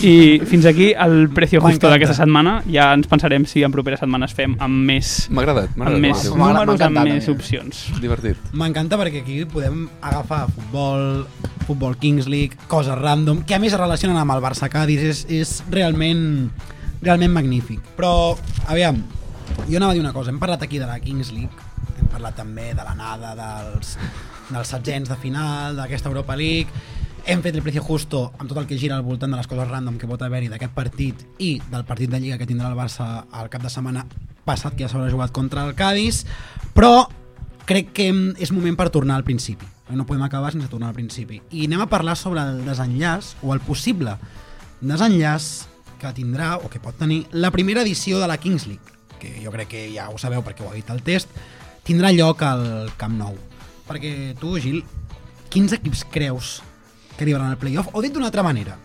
Speaker 9: I fins aquí el precio justo
Speaker 5: M'encanta.
Speaker 9: d'aquesta setmana. Ja ens pensarem si en properes setmanes fem amb més,
Speaker 8: M'ha agradat, m'ha
Speaker 9: amb
Speaker 8: agradat.
Speaker 9: més
Speaker 8: Sí,
Speaker 6: M'ha- m'ha
Speaker 9: números, amb
Speaker 6: encantat,
Speaker 9: més
Speaker 6: a mi.
Speaker 9: opcions.
Speaker 8: Divertit.
Speaker 5: M'encanta perquè aquí podem agafar futbol, futbol Kings League, coses random, que a més es relacionen amb el Barça-Cádiz, és, és realment, realment magnífic. Però, aviam, jo anava a dir una cosa, hem parlat aquí de la Kings League, hem parlat també de l'anada dels, dels setzents de final, d'aquesta Europa League, hem fet el precio justo amb tot el que gira al voltant de les coses random que pot haver-hi d'aquest partit i del partit de Lliga que tindrà el Barça al cap de setmana passat que ja s'haurà jugat contra el Cádiz però crec que hem- és moment per tornar al principi. Eh, No podem acabar sense tornar al principi. I anem a parlar sobre el desenllaç o el possible desenllaç que tindrà o que pot tenir la primera edició de la Kings League, que jo crec que ja ho sabeu perquè ho ha dit el test, tindrà lloc al Camp Nou. Perquè tu, Gil, quins equips creus que arribaran al playoff? O dit d'una altra manera,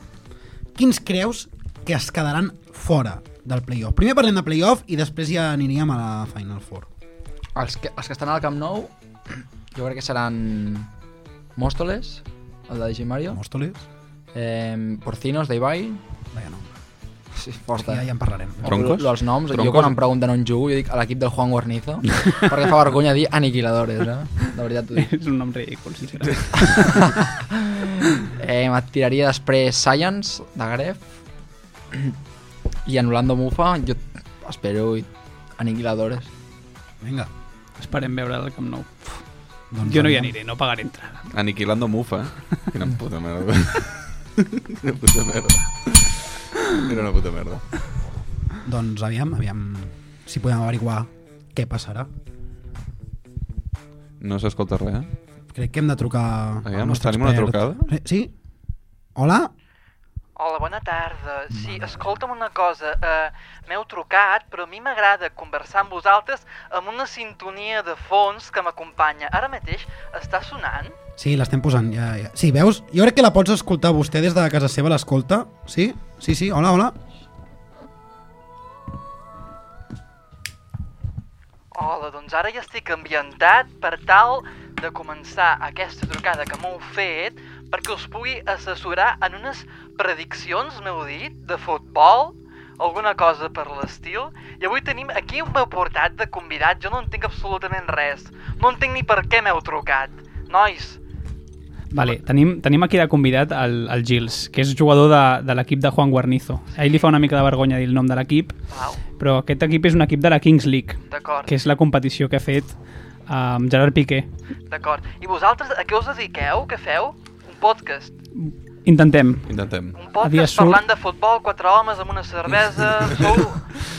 Speaker 5: quins creus que es quedaran fora del playoff? Primer parlem de playoff i després ja aniríem a la Final Four.
Speaker 6: Els que, els que estan al Camp Nou, jo crec que seran Móstoles, el de Jim Mario,
Speaker 5: Mòstoles?
Speaker 6: eh, Porcinos, d'Ibai,
Speaker 5: Vaja, no.
Speaker 6: sí, forta.
Speaker 5: Ja, ja en parlarem.
Speaker 8: Troncos?
Speaker 6: Els noms,
Speaker 8: Troncos?
Speaker 6: jo quan em pregunten on jugo, jo dic a l'equip del Juan Guarnizo, perquè fa vergonya dir aniquiladores, eh? De veritat t'ho dic.
Speaker 9: És un nom ridícul, sincerament.
Speaker 6: Eh, et tiraria després Science, de Gref, i en Orlando Mufa, jo espero i aniquiladores.
Speaker 5: Vinga.
Speaker 9: Esperem veure el Camp Nou.
Speaker 5: Doncs
Speaker 9: Jo no hi aniré, no pagaré entrada.
Speaker 8: Aniquilando Mufa. eh? Quina puta merda. Quina puta merda. Era una puta merda.
Speaker 5: Doncs aviam, aviam si podem averiguar què passarà.
Speaker 8: No s'escolta res, eh?
Speaker 5: Crec que hem de trucar
Speaker 8: Aviam,
Speaker 5: al nostre
Speaker 8: tenim una
Speaker 5: expert.
Speaker 8: trucada?
Speaker 5: Sí? Hola?
Speaker 7: Hola, bona tarda. Eh, Sí, escolta'm una cosa. Uh, M'heu trucat, però a mi m'agrada conversar amb vosaltres amb una sintonia de fons que m'acompanya. Ara mateix està sonant?
Speaker 5: Sí, l'estem posant. Ja, ja. Sí, veus? Jo crec que la pots escoltar vostè des de casa seva, l'escolta. Sí? Sí, sí, hola, hola.
Speaker 7: Hola, doncs ara ja estic ambientat per tal Oh, de començar aquesta trucada que m'heu fet perquè us pugui assessorar en unes prediccions, m'heu dit, de futbol, alguna cosa per l'estil. I avui tenim aquí un meu portat de convidat, jo no entenc absolutament res. No entenc ni per què m'heu trucat. Nois,
Speaker 9: Vale, tenim, tenim aquí de convidat el, el Gils, que és jugador de, de l'equip de Juan Guarnizo. A ell li fa una mica de vergonya dir el nom de l'equip,
Speaker 7: uau,
Speaker 9: però aquest equip és un equip de la Kings League,
Speaker 7: d'acord,
Speaker 9: que és la competició que ha fet amb Gerard Piqué.
Speaker 7: d'acord. I vosaltres a què us dediqueu? Què feu? Un podcast.
Speaker 9: Intentem.
Speaker 8: Intentem.
Speaker 7: Un
Speaker 9: dia
Speaker 7: podcast
Speaker 9: surt-
Speaker 7: parlant de futbol, quatre homes amb una cervesa, sou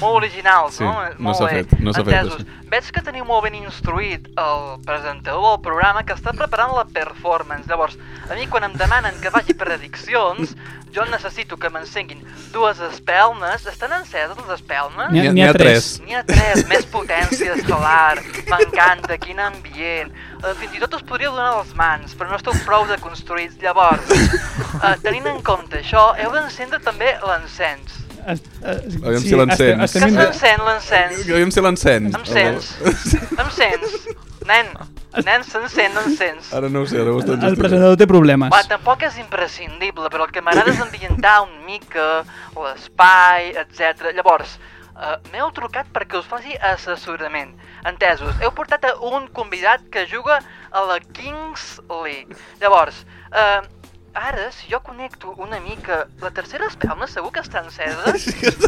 Speaker 7: molt originals,
Speaker 8: Sí,
Speaker 7: no?
Speaker 8: no
Speaker 7: Molt
Speaker 8: s'ha
Speaker 7: bé.
Speaker 8: fet, no s'ha fet
Speaker 7: Entesos.
Speaker 8: això.
Speaker 7: Veig que teniu molt ben instruït el presentador del programa que està preparant la performance. Llavors, a mi quan em demanen que faci prediccions, jo necessito que m'encenguin dues espelmes. Estan enceses les espelmes?
Speaker 9: N'hi ha,
Speaker 8: N'hi ha-
Speaker 9: n'hi ha, tres.
Speaker 7: N'hi ha tres, més potència estel·lar, m'encanta, quin ambient. Eh, Fins i tot us podríeu donar les mans, però no esteu prou de construïts. Llavors, eh, tenint en compte això, heu d'encendre també l'encens.
Speaker 9: Es, es,
Speaker 8: Aviam si l'encens.
Speaker 9: estem-
Speaker 7: Que
Speaker 9: estem inve-
Speaker 7: s'encén l'encens?
Speaker 8: Aviam si l'encens.
Speaker 7: Em sents? Em sents? Nen, nen, s'encén l'encens.
Speaker 8: Ara no ho sé, ara ho estan
Speaker 9: El
Speaker 8: gestionant.
Speaker 9: presentador té problemes.
Speaker 7: Va, tampoc és imprescindible, però el que m'agrada és ambientar un mica l'espai, etc. Llavors,
Speaker 8: Uh, M'heu trucat perquè us faci assessorament. Entesos, heu portat a un convidat que juga a la Kings League. Llavors, uh, ara, si jo connecto una mica... La tercera espelma segur que està encesa?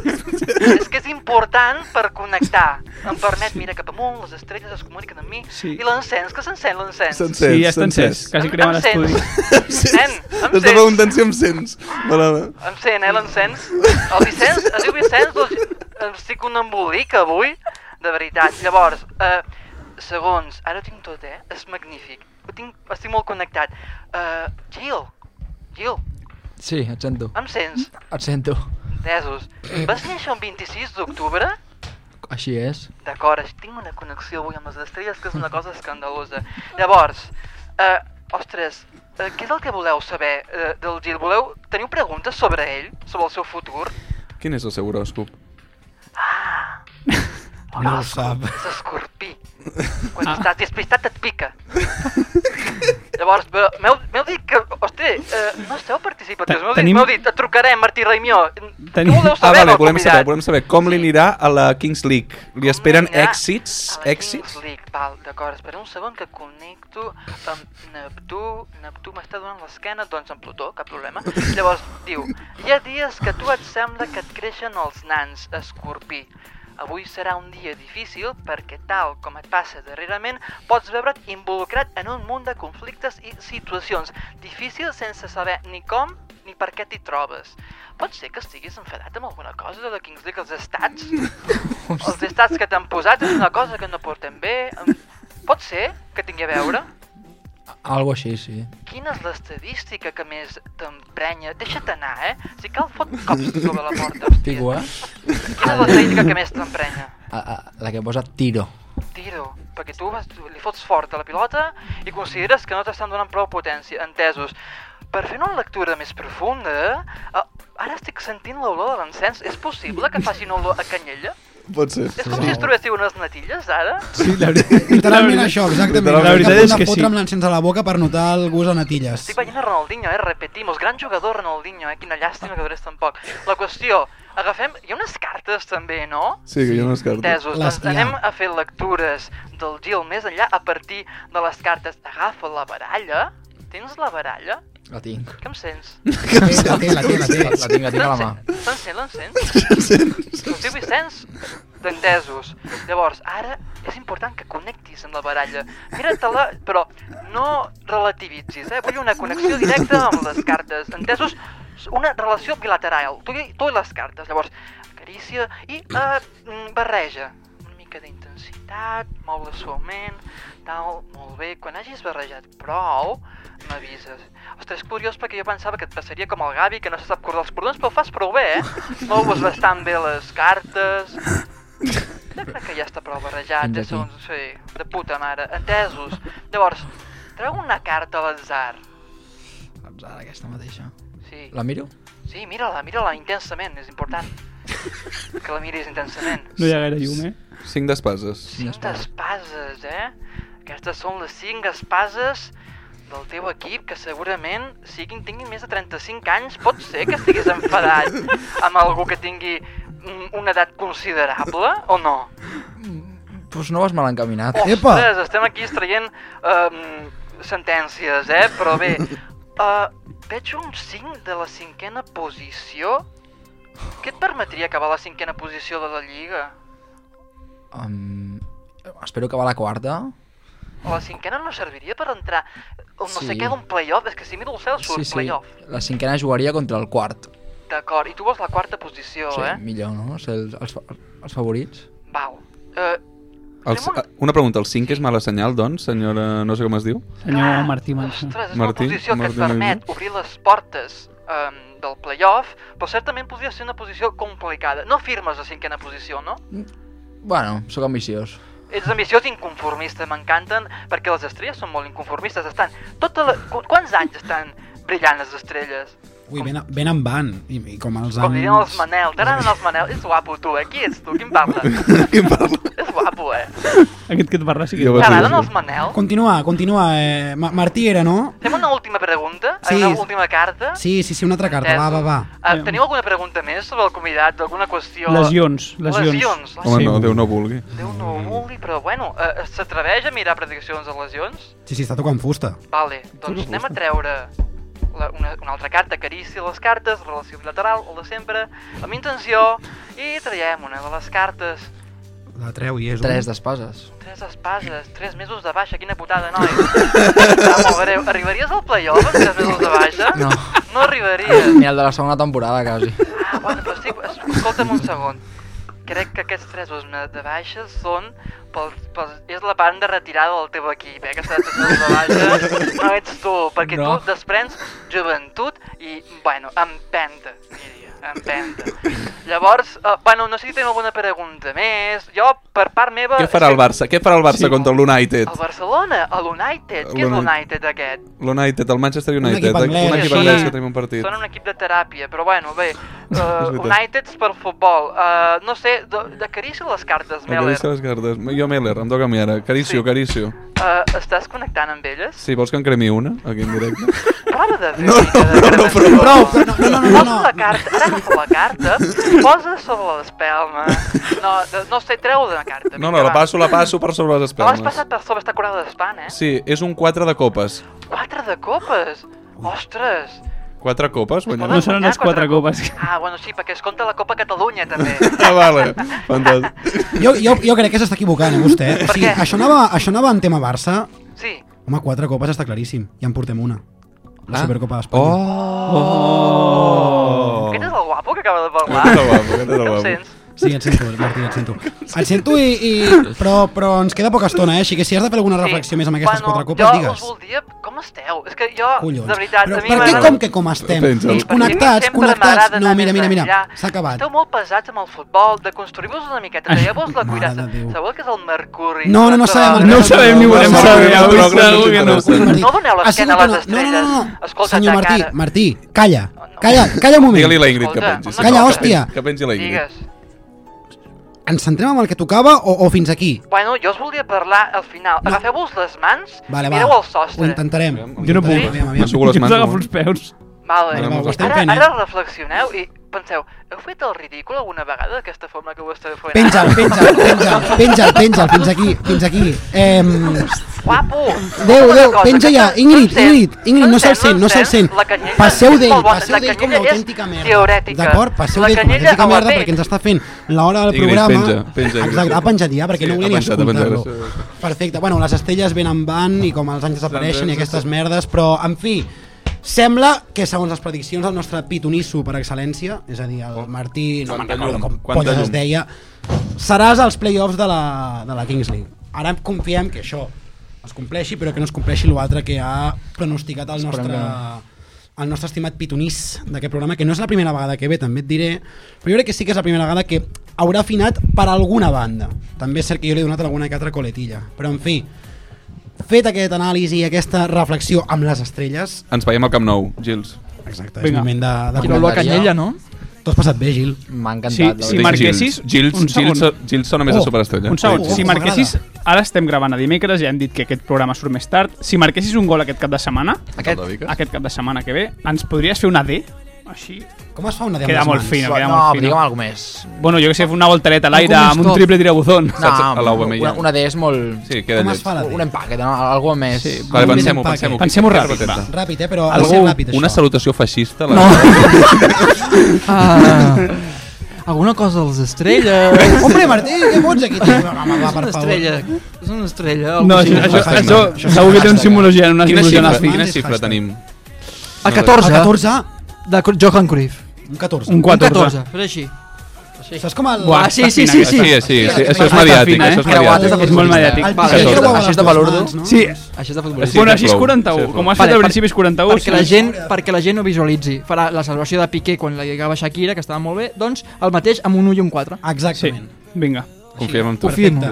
Speaker 8: és que és important per connectar. Em permet mirar cap amunt, les estrelles es comuniquen amb mi,
Speaker 9: Sí.
Speaker 8: i l'encens, que s'encén l'encens.
Speaker 7: S'encén,
Speaker 9: Sí, ja està encès.
Speaker 7: s'encès.
Speaker 9: Quasi crema
Speaker 8: Em
Speaker 9: l'estudi.
Speaker 8: sents? Nen,
Speaker 7: T'està
Speaker 8: em sents?
Speaker 7: preguntant si em sents. Vale, vale.
Speaker 8: Em sent, eh, l'encens? El Vicenç, es diu Vicenç, doncs estic un embolic avui, de veritat. Llavors, eh, segons, ara ho tinc tot, eh? És magnífic. Ho tinc, estic molt connectat. Eh, Gil, Gil,
Speaker 6: Sí, et sento.
Speaker 8: em sents?
Speaker 6: Et sento.
Speaker 8: Entesos. Vas néixer el 26 d'octubre?
Speaker 6: Així és.
Speaker 8: D'acord, així tinc una connexió avui amb les estrelles que és una cosa escandalosa. Llavors, eh, ostres, eh, què és el que voleu saber eh, del Gil? Voleu... Teniu preguntes sobre ell? Sobre el seu futur?
Speaker 7: Quin és el seu horòscop?
Speaker 5: No ho sap.
Speaker 8: És escorpí. Quan ah. estàs despistat et pica. Llavors, però m'heu m'heu dit que... Ostres, eh, no esteu participatius. M'heu dit,
Speaker 9: Tenim-
Speaker 8: m'heu dit, et trucarem, Martí Raimió. Què
Speaker 9: Tenim-
Speaker 8: voleu
Speaker 7: Ah,
Speaker 8: saber
Speaker 7: vale,
Speaker 8: del
Speaker 7: volem saber,
Speaker 8: convidat?
Speaker 7: volem saber com li anirà a la Kings League. Li esperen
Speaker 8: anirà
Speaker 7: èxits?
Speaker 8: A la
Speaker 7: Èxits?
Speaker 8: Kings League, val, d'acord, espera un segon que connecto amb Neptú, Neptú m'està donant l'esquena, doncs amb Plutó, cap problema. Llavors, diu, hi ha dies que a tu et sembla que et creixen els nans, escorpí. Avui serà un dia difícil perquè, tal com et passa darrerament, pots veure't involucrat en un munt de conflictes i situacions difícils sense saber ni com ni per què t'hi trobes. Pot ser que estiguis enfadat amb alguna cosa de la Kings League als estats? Els estats que t'han posat és una cosa que no portem bé. Em- Pot ser que tingui a veure?
Speaker 6: Algo així, sí.
Speaker 8: Quina és l'estadística que més t'emprenya? Deixa't anar, eh? Si cal, fot cops sobre la porta, hòstia.
Speaker 6: Figo, eh?
Speaker 8: Quina és l'estadística que més t'emprenya?
Speaker 6: A, a, la que posa tiro.
Speaker 8: Tiro, perquè tu vas, li fots fort a la pilota i consideres que no t'estan donant prou potència, entesos. Per fer una lectura més profunda, eh, ara estic sentint l'olor de l'encens. És possible que faci una olor a canyella?
Speaker 7: Pot ser.
Speaker 8: És com si es trobéssiu unes natilles, ara?
Speaker 9: Sí, la veritat.
Speaker 5: Literalment això, exactament.
Speaker 9: La veritat és
Speaker 5: Estic a punt de
Speaker 9: que sí.
Speaker 5: Fotre amb l'encens a la boca per notar el gust a natilles.
Speaker 8: Estic veient a Ronaldinho, eh? Repetimos, gran jugador Ronaldinho, eh? Quina llàstima que durés tan poc. La qüestió, agafem... Hi ha unes cartes també, no?
Speaker 7: Sí, que jo no escarto.
Speaker 8: Entesos,
Speaker 5: Les
Speaker 8: doncs
Speaker 5: hi ha.
Speaker 8: anem a fer lectures del Gil més enllà a partir de les cartes. Agafa la baralla. Tens la baralla?
Speaker 6: La tinc.
Speaker 8: Què em sents?
Speaker 5: La té, la té, la té.
Speaker 6: La, la tinc, la tinc a la mà.
Speaker 8: L'encens, l'encens? L'encens? Vicenç? D'entesos. Llavors, ara és important que connectis amb la baralla. Mira-te-la, però no relativitzis, eh? Vull una connexió directa amb les cartes. Entesos? Una relació bilateral. Tu i, tu i les cartes. Llavors, carícia i eh, mm, barreja. Una mica d'intensitat, moure suaument, tal, molt bé. Quan hagis barrejat prou, m'avises. Ostres, és curiós perquè jo pensava que et passaria com el Gavi, que no se sap cordar els cordons, però ho fas prou bé, eh? Mous bastant bé les cartes... Jo crec que ja està prou barrejat,
Speaker 6: Fins aquí.
Speaker 8: ja eh, segons... Sí, de puta mare. Entesos. Llavors, treu una carta a l'atzar.
Speaker 6: Ara aquesta mateixa.
Speaker 8: Sí.
Speaker 6: La miro?
Speaker 8: Sí, mira-la, mira-la intensament, és important. que la miris intensament.
Speaker 9: No hi ha gaire llum, eh?
Speaker 7: Cinc d'espases.
Speaker 8: Cinc espases, eh? Aquestes són les cinc espases del teu equip que segurament siguin, tinguin més de 35 anys, pot ser que estiguis enfadat amb algú que tingui mm, una edat considerable o no?
Speaker 6: Pues no vas mal encaminat.
Speaker 5: Epa!
Speaker 8: Ostres, estem aquí extraient um, sentències, eh? Però bé, uh, veig un 5 de la cinquena posició. Què et permetria acabar a la cinquena posició de la Lliga?
Speaker 6: Um, espero que va la quarta.
Speaker 8: La cinquena no serviria per entrar o no sé
Speaker 6: Sí.
Speaker 8: què d'un playoff, és que si miro el cel surt
Speaker 6: Sí, sí.
Speaker 8: playoff.
Speaker 6: La cinquena jugaria contra el quart.
Speaker 8: D'acord, i tu vols la quarta posició,
Speaker 6: sí,
Speaker 8: eh?
Speaker 6: millor, no? Ser els, els, fa- els favorits.
Speaker 8: Val. Eh,
Speaker 7: Els, ah, una pregunta, el 5 és mala senyal, doncs, senyora... no sé com es diu?
Speaker 9: Senyor Ah, Martí Mansa.
Speaker 8: ostres, és
Speaker 7: Martí,
Speaker 8: una posició que
Speaker 7: Martí
Speaker 8: et permet
Speaker 7: Martí.
Speaker 8: obrir les portes um, del playoff, però certament podria ser una posició complicada. No firmes la cinquena posició, no?
Speaker 6: Bueno, sóc ambiciós.
Speaker 8: Ets ambiciós i inconformista, m'encanten, perquè les estrelles són molt inconformistes, estan... Tota la... Qu quants anys estan brillant les estrelles?
Speaker 5: Ui, ben, ben en van. I, i com els
Speaker 8: Com dirien els
Speaker 5: anys...
Speaker 8: Manel, t'agraden els Manel? És guapo tu, eh? Qui ets tu? Qui em parla?
Speaker 7: Qui em parla?
Speaker 8: És
Speaker 7: guapo, eh?
Speaker 9: Aquest que et va rascar.
Speaker 7: Jo vaig T'agraden dir-ho. els Manel?
Speaker 5: Continua, continua. Eh, Ma- Martí era, no?
Speaker 7: Fem una última pregunta?
Speaker 5: Sí.
Speaker 7: Una última carta?
Speaker 5: Sí, sí, sí, una altra carta. Va, va, va.
Speaker 7: Eh, teniu alguna pregunta més sobre el convidat? Alguna qüestió?
Speaker 9: Lesions, lesions.
Speaker 7: Lesions.
Speaker 8: Home, no, Déu no vulgui.
Speaker 7: Déu no ho vulgui, però bueno, eh, s'atreveix a mirar prediccions de lesions?
Speaker 5: Sí, sí, està tocant fusta.
Speaker 7: Vale, doncs anem a treure la, una, una altra carta, carícia les cartes, relació bilateral, el de sempre, amb intenció, i traiem una de les cartes.
Speaker 5: La treu i és un...
Speaker 12: Tres d'espases.
Speaker 7: Tres espases, tres mesos de baixa, quina putada, noi. Està
Speaker 8: Ah,
Speaker 7: molt greu. Arribaries al playoff amb tres mesos de baixa?
Speaker 12: No.
Speaker 7: No arribaries.
Speaker 8: Eh.
Speaker 12: Ni el de la segona temporada, quasi.
Speaker 7: Ah, bueno, però estic... es- Escolta'm un segon. Crec que aquests tres mesos de- de baixa són... Pel, pel, és la banda retirada del teu equip, eh? Que està tres mesos de baixa. No ets tu, perquè
Speaker 12: No.
Speaker 7: no. tu desprens joventut i, bueno, empenta, diria. Empenta. Llavors, uh, bueno, no sé si teniu alguna pregunta més. Jo, per part meva...
Speaker 8: Què farà el Barça? Què farà el Barça contra l'United?
Speaker 7: El Barcelona, el United. Què és
Speaker 8: L'Uni-
Speaker 7: l'United aquest?
Speaker 8: L'United, el Manchester
Speaker 5: equip
Speaker 8: United. eh?
Speaker 5: anglès,
Speaker 8: un equip
Speaker 5: així.
Speaker 8: anglès que tenim un partit.
Speaker 7: Són un equip de teràpia, però bueno, bé. Uh,
Speaker 8: veritat.
Speaker 7: Uniteds per futbol. Uh, no sé, de- d'acaricia les cartes, Meller.
Speaker 8: Acaricia les cartes. Jo, Meller, em toca a mi ara. Acaricio,
Speaker 7: Sí.
Speaker 8: acaricio.
Speaker 7: Uh, estàs connectant amb elles?
Speaker 8: Si vols que en cremi una, aquí en directe.
Speaker 7: Prova de fer
Speaker 8: No,
Speaker 7: una mica
Speaker 8: no,
Speaker 7: de
Speaker 8: no, no,
Speaker 7: gravació.
Speaker 8: prou, prou,
Speaker 5: no, no, no, no,
Speaker 7: Posa la carta, ara agafa la carta, posa sobre l'espelma. No, de- no sé, treu de la carta.
Speaker 8: No, no, la passo, la passo per sobre les
Speaker 7: No l'has
Speaker 8: espelmes.
Speaker 7: passat per sobre, està curada d'espant, eh?
Speaker 8: Sí, és un 4 de copes.
Speaker 7: Quatre de copes! Ostres!
Speaker 8: 4 copes? Guanyem.
Speaker 9: No seran les quatre copes.
Speaker 7: Ah, bueno, sí, perquè es compta la Copa Catalunya, també.
Speaker 8: Ah, vale. Fantàstic.
Speaker 5: Jo, jo, jo crec que s'està equivocant, eh, vostè. O
Speaker 7: Per
Speaker 5: sigui,
Speaker 7: què?
Speaker 5: això anava, això anava en tema Barça.
Speaker 7: Sí,
Speaker 5: Home, quatre copes està claríssim. Ja en portem una. La
Speaker 12: Ah.
Speaker 5: Supercopa d'Espanya.
Speaker 8: Oh!
Speaker 7: Aquest és el guapo Oh! que acaba de parlar.
Speaker 8: Aquest és el guapo, aquest és el
Speaker 7: Em
Speaker 8: guapo.
Speaker 7: sents?
Speaker 5: Sí, et sento, Martí, et sento. Et sento i... i... Però, però ens queda poca estona, eh? Així que si has de fer alguna reflexió més amb aquestes
Speaker 7: bueno,
Speaker 5: quatre copes,
Speaker 7: jo
Speaker 5: digues.
Speaker 7: Jo us voldria... Com esteu? És que jo,
Speaker 5: Collons.
Speaker 7: de veritat,
Speaker 5: Però
Speaker 7: a mi
Speaker 5: per què
Speaker 7: m'agrada-
Speaker 5: com que com estem?
Speaker 8: Pensa.
Speaker 5: Doncs
Speaker 7: Perquè a
Speaker 8: Sí,
Speaker 7: mi
Speaker 5: connectats,
Speaker 7: sempre m'agrada
Speaker 5: connectats. No,
Speaker 7: anar
Speaker 5: mira,
Speaker 7: més
Speaker 5: mira, mira.
Speaker 7: enllà.
Speaker 5: S'ha acabat.
Speaker 7: Esteu molt pesats amb el futbol, de construir-vos una miqueta, traieu-vos la
Speaker 5: Mare
Speaker 7: cuirassa.
Speaker 5: de Déu.
Speaker 7: Sabeu que és el mercuri?
Speaker 5: No, no, no
Speaker 7: Tot
Speaker 5: sabem el
Speaker 7: el-
Speaker 9: No ho sabem ni
Speaker 8: No
Speaker 9: volem
Speaker 8: sabem,
Speaker 9: saber.
Speaker 8: no
Speaker 9: Avui
Speaker 8: sabem,
Speaker 9: segur que no.
Speaker 8: no sabem.
Speaker 5: Martí,
Speaker 7: No doneu
Speaker 5: ha sigut
Speaker 7: l'esquena
Speaker 5: que
Speaker 7: a les
Speaker 5: no- no, no, no,
Speaker 7: estrelles.
Speaker 5: no.
Speaker 7: Escolta,
Speaker 5: Senyor
Speaker 7: de
Speaker 5: Martí,
Speaker 7: cara.
Speaker 5: Martí, calla. Calla, calla un moment.
Speaker 8: Digue-li a la Ingrid que
Speaker 7: Escolta,
Speaker 8: pengi.
Speaker 7: una
Speaker 8: sisplau,
Speaker 5: cosa.
Speaker 8: que pengi-
Speaker 5: Calla,
Speaker 8: Que pengi la Ingrid.
Speaker 7: Digues.
Speaker 5: Ens centrem en el que tocava o, o fins aquí?
Speaker 7: Bueno, jo us volia parlar al final. Agafeu-vos les mans
Speaker 5: Vale,
Speaker 7: i
Speaker 5: va.
Speaker 7: mireu el sostre.
Speaker 5: Ho intentarem.
Speaker 9: Jo no puc.
Speaker 5: Aviam, aviam.
Speaker 8: M'assugo les
Speaker 9: Jo us
Speaker 8: mans.
Speaker 9: agafo
Speaker 8: no?
Speaker 9: els peus.
Speaker 7: Vale.
Speaker 8: Ara m'ho
Speaker 5: estem
Speaker 7: ara,
Speaker 5: fent, eh?
Speaker 7: ara reflexioneu i penseu, heu fet el ridícul alguna vegada d'aquesta forma que ho esteu fent?
Speaker 5: Penja'l, penja'l, penja'l, penja'l, penja'l, fins aquí, fins aquí. Eh,
Speaker 7: Guapo!
Speaker 5: Déu,
Speaker 7: Una
Speaker 5: Déu,
Speaker 7: cosa,
Speaker 5: penja
Speaker 7: que
Speaker 5: ja,
Speaker 7: no-
Speaker 5: Ingrid,
Speaker 7: no em sent,
Speaker 5: Ingrid, Ingrid, no se'l
Speaker 7: em
Speaker 5: sent, no
Speaker 7: em
Speaker 5: se'l sent.
Speaker 7: La canyella
Speaker 5: Passeu
Speaker 7: és
Speaker 5: d'ell,
Speaker 7: molt bona,
Speaker 5: passeu
Speaker 7: la
Speaker 5: d'ell com
Speaker 7: canyella
Speaker 5: una
Speaker 7: és
Speaker 5: autèntica merda.
Speaker 7: teorètica.
Speaker 5: D'acord? Passeu
Speaker 7: La
Speaker 5: d'ell com una
Speaker 7: canyella
Speaker 5: autèntica
Speaker 7: a la
Speaker 5: merda
Speaker 7: pell.
Speaker 5: perquè ens està fent l'hora del
Speaker 8: Ingrid,
Speaker 5: programa.
Speaker 8: penja, penja, Ingrid.
Speaker 5: Exacte, ha penjat ja, perquè
Speaker 8: Sí,
Speaker 5: no
Speaker 8: ha
Speaker 5: volia ni
Speaker 8: penjat, ha penjat.
Speaker 5: escoltar-lo. Perfecte, bueno, les estelles venen van i com els anys desapareixen i aquestes merdes, però en fi, sembla que segons les prediccions del nostre pitonisso per excel·lència, és a dir, el Martí, no me'n
Speaker 8: Quanta
Speaker 5: recordo
Speaker 8: llum,
Speaker 5: com
Speaker 8: quanta
Speaker 5: polles es
Speaker 8: llum.
Speaker 5: deia, seràs als play-offs de la, de la Kings League. Ara confiem que això es compleixi, però que no es compleixi l'altre que ha pronosticat el nostre, el nostre estimat pitonís d'aquest programa, que no és la primera vegada que ve, també et diré, però jo crec que sí que és la primera vegada que haurà afinat per alguna banda. També és cert que jo li he donat alguna que altra coletilla. Però, en fi, fet aquest anàlisi i aquesta reflexió amb les estrelles,
Speaker 8: Ens veiem al Camp Nou, Gils.
Speaker 5: exacte, és
Speaker 9: Vinga.
Speaker 5: moment de... de
Speaker 9: Qui no la
Speaker 12: comentaria.
Speaker 9: canyella, no?
Speaker 5: T'ho has passat bé, Gil.
Speaker 12: M'ha
Speaker 9: Sí,
Speaker 12: encantat. la
Speaker 9: sí,
Speaker 12: veritat.
Speaker 8: Dic
Speaker 9: marquessis,
Speaker 8: Gils,
Speaker 9: un
Speaker 8: Gils, Gils,
Speaker 9: segon.
Speaker 8: Gils sona més
Speaker 5: Oh,
Speaker 8: a superestrella.
Speaker 9: Un segon,
Speaker 5: Oh,
Speaker 9: si
Speaker 5: oh,
Speaker 9: marquessis...
Speaker 5: m'agrada.
Speaker 9: Ara estem gravant a dimecres, ja hem dit que aquest programa surt més tard. Si marquessis un gol aquest cap de setmana,
Speaker 8: Aquest, aquest,
Speaker 9: aquest cap de setmana que ve, ens podries fer una D? Així?
Speaker 5: Com es fa una de
Speaker 9: Queda molt fina, queda
Speaker 12: No,
Speaker 9: molt
Speaker 12: però digue'm
Speaker 9: fina.
Speaker 12: alguna més.
Speaker 9: Bueno, jo que sé, una voltereta a l'aire
Speaker 12: Algun
Speaker 9: amb un
Speaker 12: stop.
Speaker 9: triple tirabuzón.
Speaker 12: No,
Speaker 8: a l'Aubameyang.
Speaker 12: una, una D és molt...
Speaker 8: Sí, queda
Speaker 5: Com es
Speaker 8: lleig.
Speaker 5: fa la
Speaker 12: Un
Speaker 5: D?
Speaker 12: empaquet, no? Algo més...
Speaker 9: Sí.
Speaker 8: Vale,
Speaker 5: Un
Speaker 8: pensem-ho,
Speaker 5: empaque.
Speaker 8: pensem-ho.
Speaker 9: Pensem-ho
Speaker 8: Quina
Speaker 9: ràpid,
Speaker 8: peteta?
Speaker 5: Ràpid, eh? Però ha de
Speaker 8: Algú,
Speaker 5: ser ràpid, això.
Speaker 8: una salutació feixista? La...
Speaker 6: No. Ah, alguna cosa de les estrelles.
Speaker 5: Hombre, Martí, què fots aquí? tio? Va, va, va, per
Speaker 6: És una
Speaker 5: favor.
Speaker 6: estrella. És una estrella.
Speaker 9: No, això,
Speaker 6: algo així.
Speaker 9: això,
Speaker 8: Hashtag
Speaker 9: això,
Speaker 8: no.
Speaker 5: Això és
Speaker 9: segur que té un
Speaker 5: hashtag.
Speaker 9: simbologia, una
Speaker 8: Quina
Speaker 9: simbologia en
Speaker 8: xifra,
Speaker 9: les
Speaker 8: quina
Speaker 5: Hashtag.
Speaker 8: xifra tenim?
Speaker 6: A
Speaker 5: A
Speaker 6: 14,
Speaker 5: 14?
Speaker 6: de Co- Johan Cruyff.
Speaker 5: Un 14.
Speaker 9: Un
Speaker 6: Un
Speaker 9: 14.
Speaker 6: 14, però així.
Speaker 5: Això és com el...
Speaker 9: Buah,
Speaker 6: Ah, sí, sí, sí,
Speaker 9: fina,
Speaker 6: sí.
Speaker 8: Sí, sí, sí, això és
Speaker 9: Està
Speaker 8: mediàtic,
Speaker 9: fina, eh?
Speaker 8: això és
Speaker 12: Creuat, és
Speaker 8: mediàtic.
Speaker 12: de
Speaker 9: És molt
Speaker 12: futbolista.
Speaker 9: mediàtic.
Speaker 12: Vale,
Speaker 5: El pixel
Speaker 12: això,
Speaker 5: de
Speaker 12: això és de valor.
Speaker 8: doncs.
Speaker 5: no?
Speaker 9: Sí,
Speaker 12: Això és de futbolista.
Speaker 8: Sí,
Speaker 9: bueno, així és
Speaker 8: prou,
Speaker 9: 41,
Speaker 8: sí,
Speaker 9: com has
Speaker 6: Vale,
Speaker 9: fet al
Speaker 6: per-
Speaker 9: principi és 41.
Speaker 6: perquè, la
Speaker 9: sí.
Speaker 6: gent, perquè la gent ho visualitzi. Farà la salvació de Piqué quan la lligava Shakira, que estava molt bé, doncs el mateix amb un 1 i un 4.
Speaker 9: Sí,
Speaker 5: Exactament.
Speaker 9: vinga.
Speaker 8: Confiem en tu.
Speaker 5: Perfecte.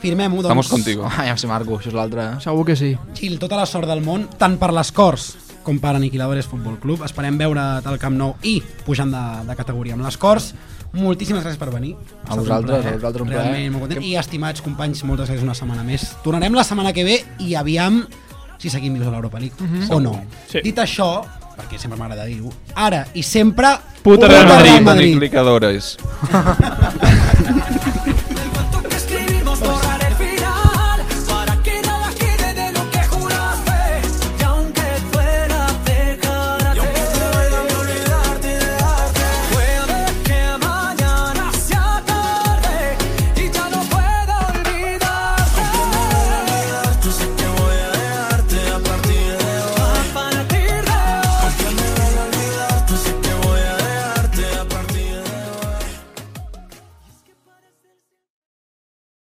Speaker 5: Firmem-ho, doncs.
Speaker 8: Estamos contigo.
Speaker 12: Ah, ja em sé, Marco, això és l'altre. eh?
Speaker 6: Segur que sí.
Speaker 5: Gil, tota la sort del món, tant per les Corts com per Aniquiladores Futbol Club. Esperem veure al Camp Nou i pujant de, de categoria amb les Corts. Moltíssimes gràcies per venir.
Speaker 7: A vosaltres, a vosaltres un plaer.
Speaker 5: Realment, molt content. I estimats companys, moltes gràcies una setmana més. Tornarem la setmana que ve i aviam si seguim vius a l'Europa League
Speaker 9: Mhm.
Speaker 5: o no.
Speaker 9: Sí.
Speaker 5: Dit això, perquè sempre m'agrada dir-ho, ara i sempre...
Speaker 8: Puta
Speaker 5: Real
Speaker 8: Madrid,
Speaker 5: Madrid.
Speaker 8: Madrid. Clicadores.